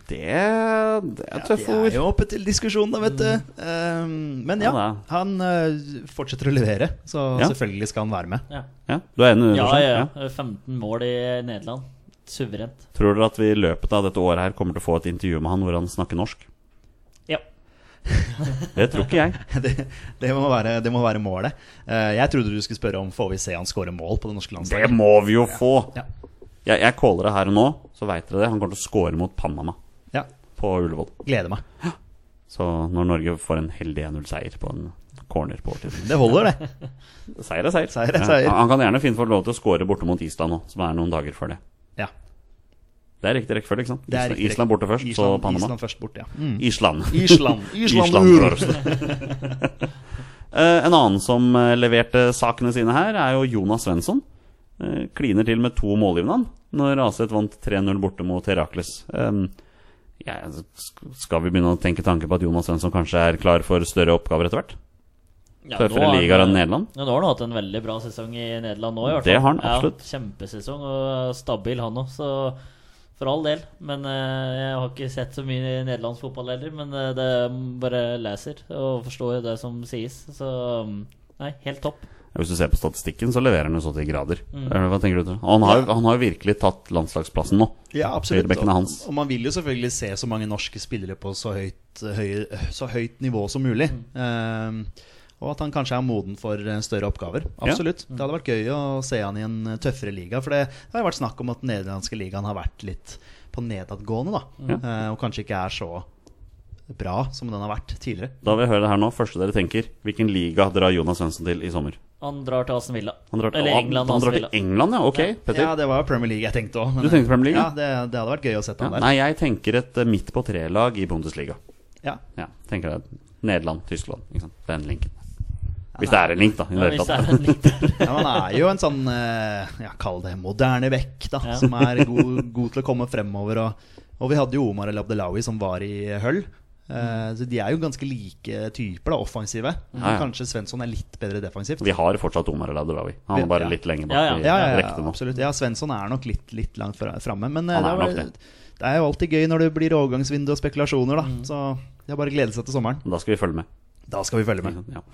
Speaker 2: Det, det er
Speaker 3: ja,
Speaker 2: tøffe
Speaker 3: de er
Speaker 2: ord. Mm.
Speaker 3: jo oppe til diskusjon, da, vet du. Ehm, men ja,
Speaker 2: Ja, det
Speaker 3: han eh, fortsetter å levere, så
Speaker 2: Ja.
Speaker 3: selvfølgelig skal han være med. [LAUGHS]
Speaker 4: Ja.
Speaker 2: Ja, du er enig?
Speaker 4: Ja,
Speaker 2: Torstein?
Speaker 4: ja, ja. 15 mål i Nederland. Suverent.
Speaker 2: Tror dere at vi i løpet av dette året her kommer til å få et intervju med han hvor han snakker norsk?
Speaker 4: Ja.
Speaker 2: Det tror ikke
Speaker 3: [LAUGHS]
Speaker 2: jeg.
Speaker 3: Det, det, må være, det må være målet. Eh, jeg trodde du skulle spørre om får vi se han skåre mål på det norske
Speaker 2: Det
Speaker 3: landslaget.
Speaker 2: må vi jo få!
Speaker 3: Ja.
Speaker 2: Jeg, jeg caller det her og nå, så veit dere det. Han kommer til å score mot Panama
Speaker 3: Ja,
Speaker 2: på Ullevål.
Speaker 3: gleder meg.
Speaker 2: Så når Norge får en heldig 1-0-seier på en corner på overtid
Speaker 3: Det
Speaker 2: [LAUGHS]
Speaker 3: holder, det.
Speaker 2: Seier er seier.
Speaker 3: Seier er seier.
Speaker 2: Ja, han kan gjerne fint få lov til å score borte mot Island nå, som er noen dager før det.
Speaker 3: Ja,
Speaker 2: Det er riktig rekkefølge, ikke sant?
Speaker 3: det er
Speaker 2: Island,
Speaker 3: riktig.
Speaker 2: Island borte først, så
Speaker 3: Island-
Speaker 2: Panama.
Speaker 3: Island først bort, ja. Mm.
Speaker 2: Island. [LAUGHS]
Speaker 3: Island.
Speaker 2: Island
Speaker 3: Island.
Speaker 2: først.
Speaker 3: [LAUGHS]
Speaker 2: Eh, en annen som eh, leverte sakene sine her, er jo Jonas Svensson. Eh, kliner til med to målgivende han, når Aset vant 3-0 borte mot Herakles. Eh, ja, sk- skal vi begynne å tenke tanke på at Jonas Svensson kanskje er klar for større oppgaver etter hvert?
Speaker 4: Ja, nå
Speaker 2: Tøffere
Speaker 4: har han-
Speaker 2: ligaer enn Nederland?
Speaker 4: Ja, nå har han hatt en veldig bra sesong i Nederland nå, i hvert fall.
Speaker 2: Det har han, absolutt.
Speaker 4: Ja, kjempesesong, og stabil han òg, så for all del. Men eh, jeg har ikke sett så mye i nederlandsk fotball heller, men eh, det bare leser og forstår det som sies. Så mm, nei, helt topp.
Speaker 2: Hvis du ser på statistikken, så leverer han jo så til grader.
Speaker 4: Mm.
Speaker 2: Eller Hva tenker du til? Han har, jo- han har jo virkelig tatt landslagsplassen nå.
Speaker 3: Ja, absolutt.
Speaker 2: Høyrebekken er
Speaker 3: Og,
Speaker 2: hans.
Speaker 3: og man vil jo selvfølgelig se så mange norske spillere på så høyt, høy, så høyt nivå som mulig. Ehm, og at han kanskje er moden for eh, større oppgaver. Absolutt. Det hadde vært gøy å se han i en eh, tøffere liga. For det, det har jo vært snakk om at den nederlandske ligaen har vært litt på nedadgående, da. Eh, og kanskje ikke er så bra som den har vært tidligere.
Speaker 2: Da vil jeg høre det her nå. Første dere tenker, hvilken liga drar Jonas Svensson til i sommer?
Speaker 4: Han drar til Aston Villa.
Speaker 2: Han drar til,
Speaker 4: Eller England
Speaker 2: han,
Speaker 4: og
Speaker 2: han
Speaker 4: Aston
Speaker 2: drar til
Speaker 4: Villa.
Speaker 2: England, ja. Ok, Petter.
Speaker 3: Ja, det var Premier League jeg tenkte òg.
Speaker 2: Du tenkte Premier League,
Speaker 3: Ja,
Speaker 2: ja?
Speaker 3: det, det hadde vært gøy å sette
Speaker 2: Ja,
Speaker 3: han der.
Speaker 2: Nei, jeg tenker et eh, midt på tre-lag i Bundesliga.
Speaker 3: Ja.
Speaker 2: Ja, tenker jeg Nederland, Tyskland. Ikke sant? Den linken. Hvis det er en link, da. I
Speaker 4: Ja,
Speaker 2: det hele
Speaker 4: hvis det
Speaker 2: tatt.
Speaker 4: er en link der.
Speaker 3: Ja, men han er jo en sånn eh, ja, Kall det moderne vekk, da.
Speaker 4: Ja.
Speaker 3: Som er god, god til å komme fremover. Og, og vi hadde jo Omar El Abdelawi som var i Hull. Eh, så de er jo ganske like typer, da, offensive. Men
Speaker 2: Ja, ja.
Speaker 3: Kanskje Svensson er litt bedre defensivt.
Speaker 2: [LAUGHS] Vi har fortsatt Omar El Adrawi. Han er bare
Speaker 3: Ja.
Speaker 2: litt lenger bak
Speaker 4: Ja, ja.
Speaker 2: i
Speaker 3: Ja, ja, ja
Speaker 2: rekkene nå.
Speaker 3: absolutt. Ja, Svensson er nok litt, litt langt fra- framme. Men eh,
Speaker 2: Han er
Speaker 3: det,
Speaker 2: nok
Speaker 3: er, det. er jo alltid gøy når det blir overgangsvindu og spekulasjoner, da.
Speaker 2: Mm.
Speaker 3: Så det er bare å glede seg til sommeren.
Speaker 2: Da skal vi følge med.
Speaker 3: Da skal vi følge med.
Speaker 2: Ja.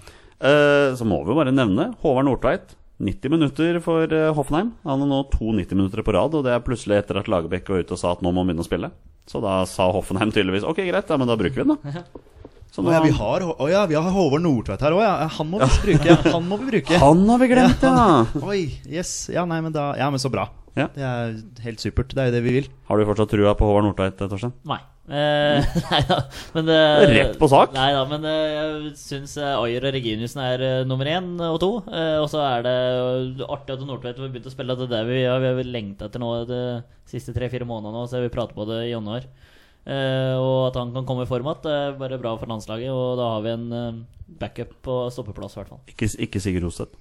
Speaker 2: Eh, så må vi jo bare nevne Håvard Nordtveit. 90 minutter for eh, Hoffenheim. Han har nå to 90-minutter på rad, og det er plutselig etter at Lagerbäck var ute og sa at nå må han begynne å spille. Så da sa Hoffenheim tydeligvis ok, greit, ja, men da bruker vi den, da. Så
Speaker 3: Å
Speaker 2: nå,
Speaker 3: ja, vi har, å ja, vi har Håvard Nordtveit her òg, ja. Han må vi bruke. Han må vi bruke.
Speaker 2: Han har vi glemt, ja!
Speaker 3: Oi, yes, ja, nei, men da, ja, men så bra
Speaker 2: Ja.
Speaker 3: Det er helt supert, det er jo det vi vil
Speaker 2: Har du fortsatt trua på Håvard Nordtveit, eh, Torstein?
Speaker 4: Nei. Eh,
Speaker 2: [LAUGHS]
Speaker 4: [LAUGHS] nei da, men det,
Speaker 2: Rett på sak.
Speaker 4: Nei da, men eh, jeg syns eh, Ayer og Reginiussen er eh, nummer én og to. Eh, og så er det eh, artig at Nordtveit har begynt å spille. at Det er det vi, ja, vi har lengta etter nå de siste tre-fire månedene, nå, så vi prater på det i januar. Eh, og at han kan komme i form igjen, er bare bra for landslaget. Og da har vi en eh, backup på eh, stoppeplass, i hvert fall.
Speaker 2: Ikke, ikke Sigurd Roseth.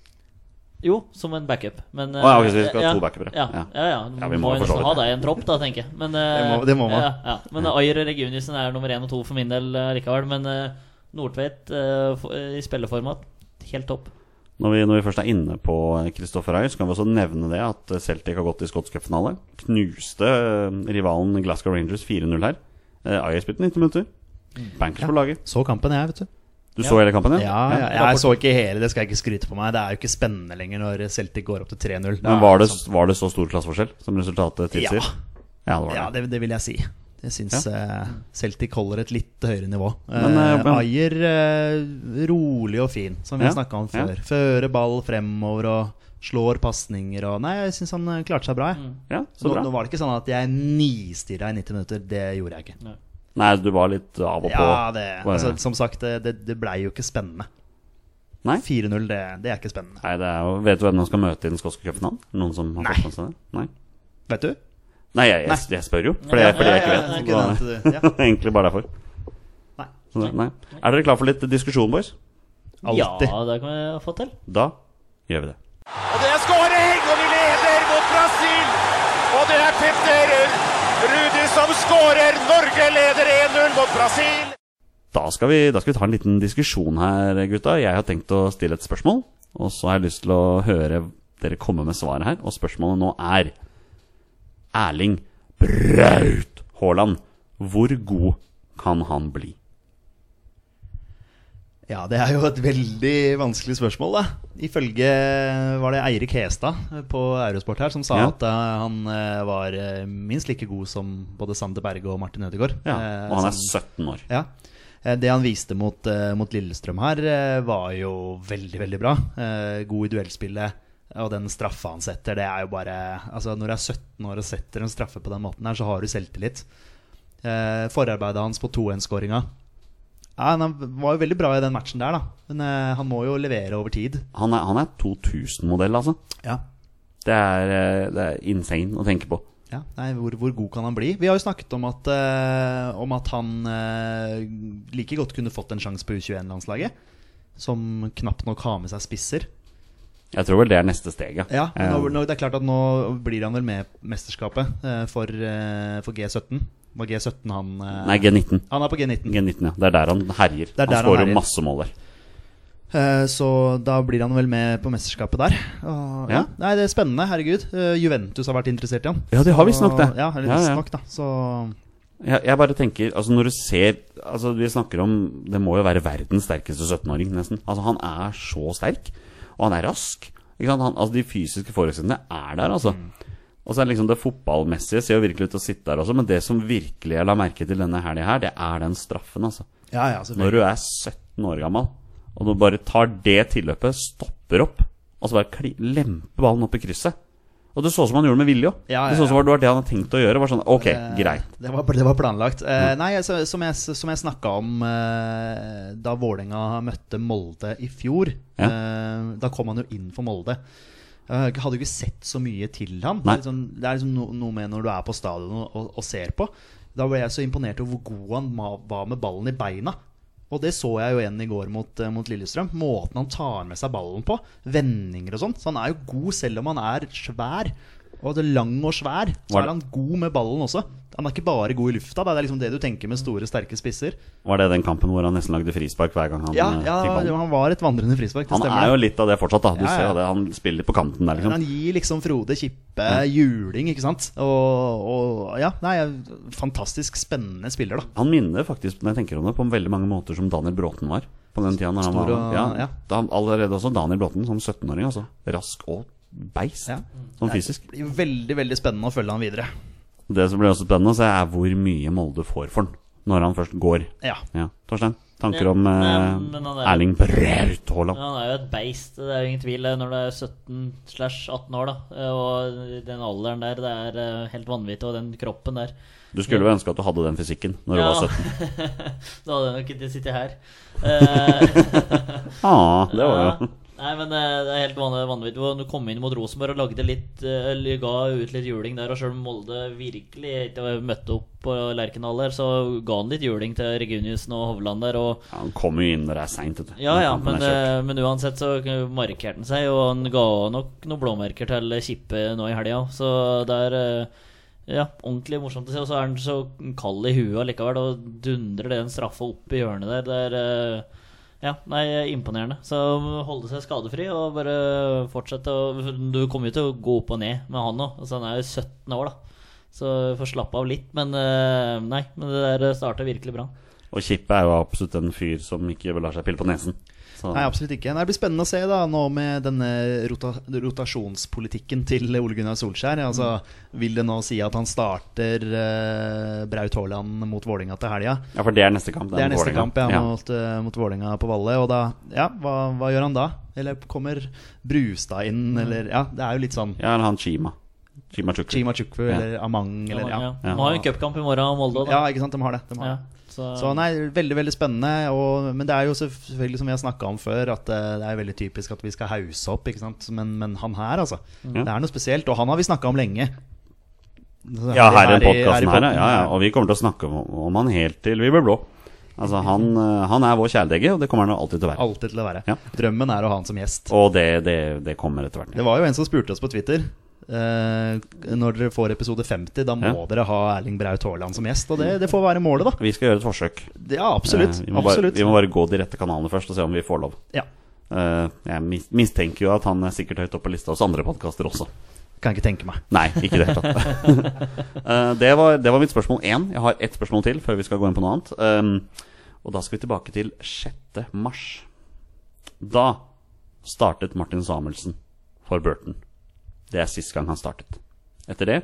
Speaker 4: Jo, som en backup. Men,
Speaker 2: Å, ja, ok, så vi
Speaker 4: eh,
Speaker 2: skal ha to backupere.
Speaker 4: Ja,
Speaker 2: Ja.
Speaker 4: ja, ja.
Speaker 2: Ja, vi
Speaker 4: vi
Speaker 2: må
Speaker 4: må
Speaker 2: jo
Speaker 4: jo
Speaker 2: for så
Speaker 4: nesten
Speaker 2: vidt
Speaker 4: ha
Speaker 2: det.
Speaker 4: deg i en tropp, da, tenker jeg. Men, eh,
Speaker 3: Det må- det må man.
Speaker 4: Ja, ja. Men eh, Ayer og Regunisen er nummer én og to for min del eh, likevel. Men eh, Nordtveit eh, for- eh, i spilleformat, helt topp.
Speaker 2: Når vi, når vi først er inne på Kristoffer Ayer, så kan vi også nevne det at eh, Celtic har gått i Scotts Cup-finale. Knuste eh, rivalen Glasgow Rangers 4-0 her. Eh, Ayer spilte 90 minutter. Bankers på laget.
Speaker 3: Så kampen, jeg, vet du.
Speaker 2: Du
Speaker 4: Ja.
Speaker 2: så hele kampen?
Speaker 3: Ja, ja, jeg så ikke hele, det skal jeg ikke skryte på meg. Det er jo ikke spennende lenger når Celtic går opp til 3-0.
Speaker 2: Men var det, var det så stor klasseforskjell som resultatet tilsier? ja,
Speaker 3: Ja.
Speaker 2: det var det.
Speaker 3: Ja, det, det vil jeg si. Jeg syns eh, Celtic holder et litt høyere nivå.
Speaker 2: Men, eh,
Speaker 3: eh,
Speaker 2: men-
Speaker 3: Ayer eh, rolig og fin, som vi
Speaker 2: Ja,
Speaker 3: har snakka om
Speaker 2: ja.
Speaker 3: før. Fører ball fremover og slår pasninger og Nei, jeg syns han eh, klarte seg bra. Jeg.
Speaker 2: Ja, Mm. så
Speaker 3: Nå,
Speaker 2: bra.
Speaker 3: nå var det ikke sånn at jeg nistirra i 90 minutter. Det gjorde jeg ikke.
Speaker 2: Nei, du var litt av og på.
Speaker 3: Ja, det,
Speaker 2: Var-
Speaker 3: altså, Som sagt, det, det, det blei jo ikke spennende.
Speaker 2: Nei?
Speaker 3: 4-0, det, det er ikke spennende.
Speaker 2: Nei, det er jo Vet du hvem de skal møte i den skotske cupfinalen? Noen som har
Speaker 3: Nei.
Speaker 2: fått med seg det? Nei.
Speaker 3: Vet du?
Speaker 2: Nei, jeg, jeg, jeg spør jo, fordi,
Speaker 4: Ja,
Speaker 2: fordi jeg ikke
Speaker 4: ja, ja,
Speaker 2: vet. Så
Speaker 4: ja,
Speaker 2: da- [LAUGHS]
Speaker 3: ikke sant,
Speaker 2: det er Egentlig bare derfor.
Speaker 3: Nei.
Speaker 2: Så, det- nei. Er dere klar for litt diskusjon, boys? [LAUGHS]
Speaker 3: Alltid.
Speaker 4: Ja, det kan vi få til.
Speaker 2: Da gjør vi det.
Speaker 1: Og det er skåring, og vi leder mot Brasil. Og det er Petter Rudi som skårer. Norge leder 1-0 mot Brasil.
Speaker 2: Da skal, vi, da skal vi ta en liten diskusjon her, gutta. Jeg har tenkt å stille et spørsmål. Og så har jeg lyst til å høre dere komme med svaret her. Og spørsmålet nå er Erling Braut Haaland, hvor god kan han bli?
Speaker 3: Ja, det er jo et veldig vanskelig spørsmål, da. Ifølge var det Eirik Hestad på Eurosport her som sa
Speaker 2: Ja.
Speaker 3: at eh, han eh, var eh, minst like god som både Sander Berge og Martin Ødegaard.
Speaker 2: Ja,
Speaker 3: Eh,
Speaker 2: og han er
Speaker 3: som-
Speaker 2: 17 år.
Speaker 3: ja. Eh, Det han viste mot, eh, mot Lillestrøm her, eh, var jo veldig, veldig bra. Eh, God i duellspillet. Og den straffa han setter, det er jo bare Altså, når du er 17 år og setter en straffe på den måten her, så har du selvtillit. Eh, Forarbeidet hans på 2-1-skåringa ja, Han var jo veldig bra i den matchen der, da. Men eh, han må jo levere over tid.
Speaker 2: Han er, han er 2000-modell, altså.
Speaker 3: Ja.
Speaker 2: Det er, eh, det er insane å tenke på.
Speaker 3: Ja, nei, hvor, hvor god kan han bli? Vi har jo snakket om at, eh, om at han eh, like godt kunne fått en sjanse på U21-landslaget, som knapt nok har med seg spisser.
Speaker 2: Jeg tror vel det er neste steg,
Speaker 3: Ja, men nå,
Speaker 2: Eh,
Speaker 3: nå, Det er klart at nå blir han vel med mesterskapet eh, for, eh, for G17. Var G17 han eh,
Speaker 2: Nei, G19.
Speaker 3: Han er på G19.
Speaker 2: G19, ja. Det er der han herjer.
Speaker 3: er der
Speaker 2: han
Speaker 3: han
Speaker 2: skårer
Speaker 3: herjer.
Speaker 2: masse mål der.
Speaker 3: Eh, Så da blir han vel med på mesterskapet der. Og,
Speaker 2: Ja.
Speaker 3: ja. Nei, det er spennende. Herregud. Eh, Juventus har vært interessert i han.
Speaker 2: Ja, de har visstnok
Speaker 3: Så-
Speaker 2: det.
Speaker 3: Ja, eller
Speaker 2: Ja, ja.
Speaker 3: visstnok, da. Så
Speaker 2: Jeg, jeg bare tenker, altså når du ser Altså Vi snakker om Det må jo være verdens sterkeste 17-åring, nesten. Altså Han er så sterk, og han er rask. Ikke sant? Han, altså De fysiske forutsetningene er der, altså.
Speaker 3: Mm.
Speaker 2: Og så er det liksom det fotballmessige ser jo virkelig ut til å sitte der også, men det som virkelig jeg la merke til denne helga her, det er den straffen, altså.
Speaker 3: Ja, ja, selvfølgelig.
Speaker 2: Når du er 17 år gammel, og du bare tar det tilløpet, stopper opp, og så bare kli, lemper ballen opp i krysset. Og det så ut som han gjorde med vilje òg.
Speaker 3: Ja, ja,
Speaker 2: Det så ut som
Speaker 3: ja.
Speaker 2: det var det han hadde tenkt å gjøre. Var sånn, ok,
Speaker 3: Eh,
Speaker 2: greit. Mm.
Speaker 3: Det var, det var planlagt. Eh, nei, altså, som jeg, som jeg snakka om eh, da Vålerenga møtte Molde i fjor,
Speaker 2: Ja.
Speaker 3: eh, da kom han jo inn for Molde. Eh, Jeg hadde jo ikke sett så mye til han. Det
Speaker 2: Nei.
Speaker 3: er liksom, det er liksom no, noe med når du er på stadion og, og, og ser på. Da ble jeg så imponert over hvor god han ma- var med ballen i beina. Og det så jeg jo igjen i går mot, eh, mot Lillestrøm. Måten han tar med seg ballen på. Vendinger og sånn. Så han er jo god selv om han er svær. Og det er lang og svær. Så
Speaker 2: Var
Speaker 3: er
Speaker 2: det-
Speaker 3: han god med ballen også. Han er ikke bare god i lufta. da. Det er liksom det du tenker med store, sterke spisser.
Speaker 2: Var det den kampen hvor han nesten lagde frispark hver gang han
Speaker 3: Ja,
Speaker 2: eh,
Speaker 3: ja
Speaker 2: fikk ballen?
Speaker 3: han var et vandrende frispark. Det
Speaker 2: Han
Speaker 3: stemmer.
Speaker 2: er
Speaker 3: det.
Speaker 2: jo litt av det fortsatt, da. Du
Speaker 3: Ja, ja.
Speaker 2: ser jo det. Han spiller litt på kanten der,
Speaker 3: Men
Speaker 2: liksom.
Speaker 3: han gir liksom Frode Kippe juling, ikke sant? Og, og ja, nei, fantastisk spennende spiller, da.
Speaker 2: Han minner faktisk, når jeg tenker om det, på veldig mange måter som Daniel Bråten var. På den tida når han
Speaker 3: Stor
Speaker 2: var
Speaker 3: og-
Speaker 2: ja,
Speaker 3: ja.
Speaker 2: da han, Allerede også Daniel Bråten som 17-åring, altså. Rask og beist,
Speaker 3: Ja.
Speaker 2: sånn fysisk.
Speaker 3: Det blir veldig veldig spennende å følge han videre.
Speaker 2: Det som blir også spennende, så er hvor mye Molde får for den når han først går.
Speaker 3: Ja.
Speaker 2: Ja, Torstein, tanker
Speaker 4: Ja,
Speaker 2: om eh,
Speaker 4: men- men han er-
Speaker 2: Erling Braut Haaland?
Speaker 4: Ja, han er jo et beist, det er jo ingen tvil. eh, Når du er 17 slash 18 år, da. Eh, Og den alderen der, det er eh, helt vanvittig. Og den kroppen der.
Speaker 2: Du skulle jo ønske at du hadde den fysikken når du var 17.
Speaker 4: [LAUGHS] da hadde jeg nok ikke sittet her. Eh, [LAUGHS]
Speaker 2: Ah, det var jo
Speaker 4: ja. Nei, men eh, det er helt vanlig- vanvittig hvor du kom inn mot Rosenborg og lagde litt eh, eller ga ut litt juling der. Og selv om Molde virkelig ikke møtte opp på Lerkendal der, så ga han litt juling til Reguniussen og Hovland der. Og
Speaker 2: Ja, han kommer jo inn når det er seint.
Speaker 4: ja, ja, men, eh, men uansett så markerte han seg, og han ga nok noen blåmerker til Kippe nå i helga. Så det er eh, ja, ordentlig morsomt å se. Og så er han så kald i huet likevel, og dundrer den straffa opp i hjørnet der. Det er eh, ja, nei, imponerende. Så holde seg skadefri og bare fortsette å Du kommer jo til å gå opp og ned med han nå. Altså, han er jo 17 år, da. Så får slappe av litt, men eh, nei. Men det der starta virkelig bra.
Speaker 2: Og Kippe er jo absolutt en fyr som ikke lar seg pille på nesen. Så
Speaker 3: Nei, absolutt ikke. Nei, Det blir spennende å se da nå med denne rota rotasjonspolitikken til Ole Gunnar Solskjær. Altså, Vil det nå si at han starter eh, Braut Haaland mot Vålinga til helga?
Speaker 2: ja, for det er neste kamp.
Speaker 3: Det er
Speaker 2: mot
Speaker 3: neste
Speaker 2: Vålerenga.
Speaker 3: kamp ja, mot, eh, mot Vålinga på Valle. Og da, ja, hva, hva gjør han da? Eller kommer Brustad inn, eller Ja, det er jo litt sånn
Speaker 2: Ja, eller han Chima. Chima Chukwu.
Speaker 3: Chima Chukwu
Speaker 2: Ja.
Speaker 3: eller Amang eller ja. Sånn,
Speaker 4: De har jo en cupkamp i morgen, Molde. da.
Speaker 3: Ja, ikke sant, de har det. De har det.
Speaker 4: Ja, så,
Speaker 3: Så nei, veldig veldig spennende. Og, men det er jo selvfølgelig som vi har snakka om før, at eh, det er veldig typisk at vi skal hause opp. Ikke sant? Men, men han her, altså. Det er noe spesielt. Og han har vi snakka om lenge. Så
Speaker 2: Ja, her i
Speaker 3: her i- her i
Speaker 2: podkasten her,
Speaker 3: podden,
Speaker 2: ja, ja.
Speaker 3: ja.
Speaker 2: Og vi kommer til å snakke om, om han helt til vi blir blå. Altså, han, eh, han er vår kjæledegge, og det kommer han jo alltid til å være.
Speaker 3: Alltid til å være.
Speaker 2: Ja.
Speaker 3: Drømmen er å ha han som gjest.
Speaker 2: Og det, det, det kommer etter hvert.
Speaker 3: Det var jo en som spurte oss på Twitter. eh, når dere får episode 50, da må
Speaker 2: Ja.
Speaker 3: dere ha Erling Braut Haaland som gjest. Og det, det får være målet, da.
Speaker 2: Vi skal gjøre et forsøk.
Speaker 3: Det, ja, absolutt.
Speaker 2: Eh, Vi må, bare,
Speaker 3: absolutt.
Speaker 2: vi må bare gå de rette kanalene først og se om vi får lov.
Speaker 3: Ja.
Speaker 2: Eh, Jeg mis- mistenker jo at han er sikkert høyt oppe på lista hos andre podkaster også.
Speaker 3: Kan ikke tenke meg.
Speaker 2: Nei, ikke i det hele tatt. Eh, det, var, det var mitt spørsmål én. Jeg har ett spørsmål til før vi skal gå inn på noe annet. Um, og da skal vi tilbake til 6. mars. Da startet Martin Samuelsen for Burton. Det er sist gang han startet. Etter det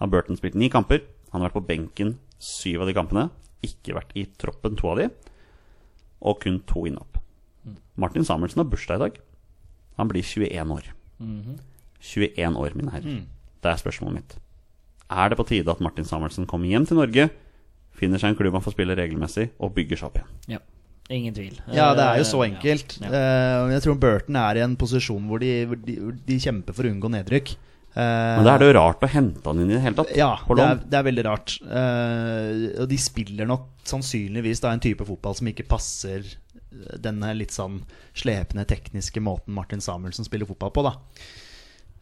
Speaker 2: har Burton spilt ni kamper. Han har vært på benken syv av de kampene. Ikke vært i troppen to av de. Og kun to innopp. Martin Samuelsen har bursdag i dag. Han blir 21 år. 21 år, mine herrer. Det er spørsmålet mitt. Er det på tide at Martin Samuelsen kommer hjem til Norge, finner seg en klubb han får spille regelmessig, og bygger seg opp igjen?
Speaker 4: ja. Ingen tvil.
Speaker 3: Ja, det er jo
Speaker 4: Eh,
Speaker 3: så enkelt.
Speaker 4: Ja.
Speaker 3: Eh, jeg tror Burton er i en posisjon hvor de, hvor de, hvor de kjemper for å unngå nedrykk. Eh,
Speaker 2: Men da er det jo rart å hente han inn i det hele tatt.
Speaker 3: ja,
Speaker 2: på
Speaker 3: det er,
Speaker 2: lån.
Speaker 3: det er veldig rart. Eh, og de spiller nok sannsynligvis da en type fotball som ikke passer denne litt sånn slepne tekniske måten Martin Samuelsen spiller fotball på, da.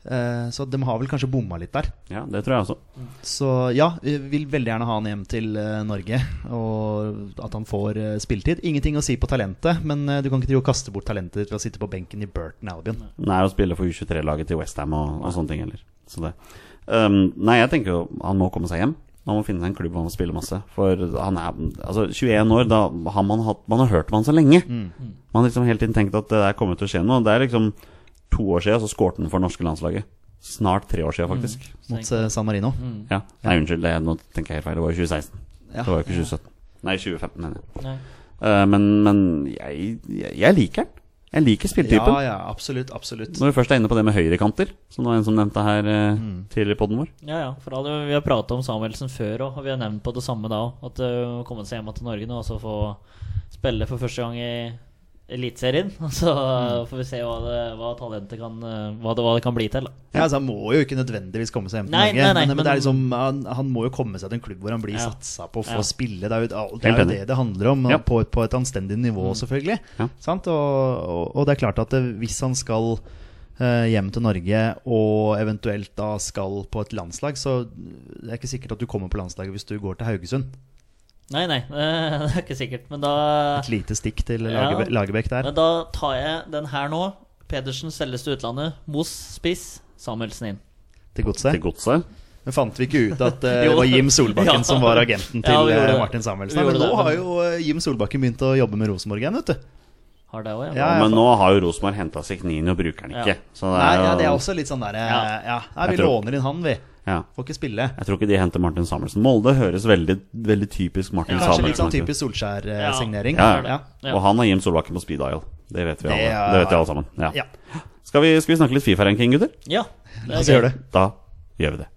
Speaker 3: Eh, så de har vel kanskje bomma litt der.
Speaker 2: Ja, det tror jeg også.
Speaker 3: Så ja, vi vil veldig gjerne ha han hjem til eh, Norge. Og at han får eh, spilletid. Ingenting å si på talentet, men eh, du kan ikke drive og kaste bort talentet ditt ved å sitte på benken i Burton Albion.
Speaker 2: Han er å spille for U23-laget til Westham og, og sånne ting heller. Så det. Um, nei, jeg tenker jo han må komme seg hjem. Han må finne seg en klubb hvor han må spille masse. For han er altså 21 år, da har man hatt Man har hørt om han så lenge.
Speaker 3: Mm.
Speaker 2: Man har liksom hele tiden tenkt at det der kommer til å skje noe. Det er liksom to år siden så skårte han for norske landslaget. Snart tre år siden, faktisk.
Speaker 3: Mot eh, San Marino.
Speaker 2: Ja, Nei, unnskyld, det, nå tenker jeg helt feil. Det var jo 2016.
Speaker 3: Ja.
Speaker 2: Det var jo ikke 2017. Nei, 2015, mener jeg.
Speaker 4: Nei.
Speaker 2: Eh, men men jeg, jeg, jeg liker den. Jeg liker spilletypen.
Speaker 3: Ja, ja, absolutt, absolutt.
Speaker 2: Når vi først er inne på det med høyrekanter, som det var en som nevnte her eh,
Speaker 3: Mm.
Speaker 2: tidligere i podden vår.
Speaker 4: Ja, ja. For alle, vi har prata om Samuelsen før òg, og vi har nevnt på det samme da òg. At eh, å komme seg hjem til Norge nå og så få spille for første gang i Eliteserien. [LAUGHS] Og så
Speaker 3: Mm.
Speaker 4: eh, får vi se hva, det, hva talentet kan eh, hva det, hva det kan bli til. Da.
Speaker 3: Ja, altså, han må jo ikke nødvendigvis komme seg hjem til
Speaker 4: Nei,
Speaker 3: Norge,
Speaker 4: nei, nei,
Speaker 3: men, men det er
Speaker 4: men-
Speaker 3: liksom, han, han må jo komme seg til en klubb hvor han blir
Speaker 4: Ja.
Speaker 3: satsa på, få
Speaker 4: Ja.
Speaker 3: spille. Det er jo, det,
Speaker 2: Helt
Speaker 3: er jo
Speaker 2: enig.
Speaker 3: det det handler om,
Speaker 2: Ja.
Speaker 3: og på, på et anstendig
Speaker 4: Mm.
Speaker 3: nivå, selvfølgelig.
Speaker 2: Ja.
Speaker 3: Sant? Og, og, og det er klart at det, hvis han skal eh, hjem til Norge, og eventuelt da skal på et landslag, så det er ikke sikkert at du kommer på landslaget hvis du går til Haugesund.
Speaker 4: Nei, nei. [LAUGHS] eh, det er ikke sikkert. Men da
Speaker 3: Et lite stikk til
Speaker 4: Ja.
Speaker 3: Lagerbe Lagerbäck der.
Speaker 4: Men da tar jeg den her nå. Pedersen selges til utlandet. Moss spiss. Samuelsen inn.
Speaker 3: Til
Speaker 2: Til
Speaker 3: godset.
Speaker 2: godset.
Speaker 3: Men fant vi ikke ut
Speaker 4: [LAUGHS]
Speaker 3: at eh, det
Speaker 4: Jo.
Speaker 3: var Jim Solbakken
Speaker 4: Ja.
Speaker 3: som var agenten til
Speaker 4: Ja, vi gjorde
Speaker 3: eh,
Speaker 4: det.
Speaker 3: Martin Samuelsen?
Speaker 4: Vi
Speaker 3: Nei, Men nå
Speaker 4: gjorde det.
Speaker 3: har jo eh, Jim Solbakken begynt å jobbe med Rosenborg igjen, vet du.
Speaker 4: Har det òg, ja.
Speaker 3: Ja, ja,
Speaker 2: men
Speaker 3: for-
Speaker 2: nå har jo Rosenborg henta Sikhnini og bruker den ikke.
Speaker 4: Ja.
Speaker 2: Så det
Speaker 3: Nei,
Speaker 2: er,
Speaker 3: ja,
Speaker 2: jo-
Speaker 3: det er også litt sånn derre ja.
Speaker 4: Ja.
Speaker 3: Nei, vi
Speaker 2: Jeg tror-
Speaker 3: låner inn han, vi.
Speaker 2: ja.
Speaker 3: Får ikke spille.
Speaker 2: Jeg tror ikke de henter Martin Samuelsen. Molde høres veldig, veldig typisk Martin
Speaker 4: Ja,
Speaker 3: Kanskje
Speaker 2: Samuelsen
Speaker 3: litt sånn
Speaker 2: ut.
Speaker 3: typisk
Speaker 4: Ja.
Speaker 3: Solskjær-signering.
Speaker 2: Ja, ja.
Speaker 3: ja.
Speaker 4: Ja.
Speaker 2: Og han har Jim Solbakken på speed dial. Det vet vi
Speaker 3: Det
Speaker 2: alle, det,
Speaker 3: er-
Speaker 2: vet vi alle sammen. Ja.
Speaker 3: Ja.
Speaker 2: Skal, vi, skal vi snakke litt Fifa-ranking, gutter?
Speaker 4: ja. det er
Speaker 3: La oss
Speaker 4: gøy. [LAUGHS]
Speaker 3: gjøre det.
Speaker 2: Da gjør vi det.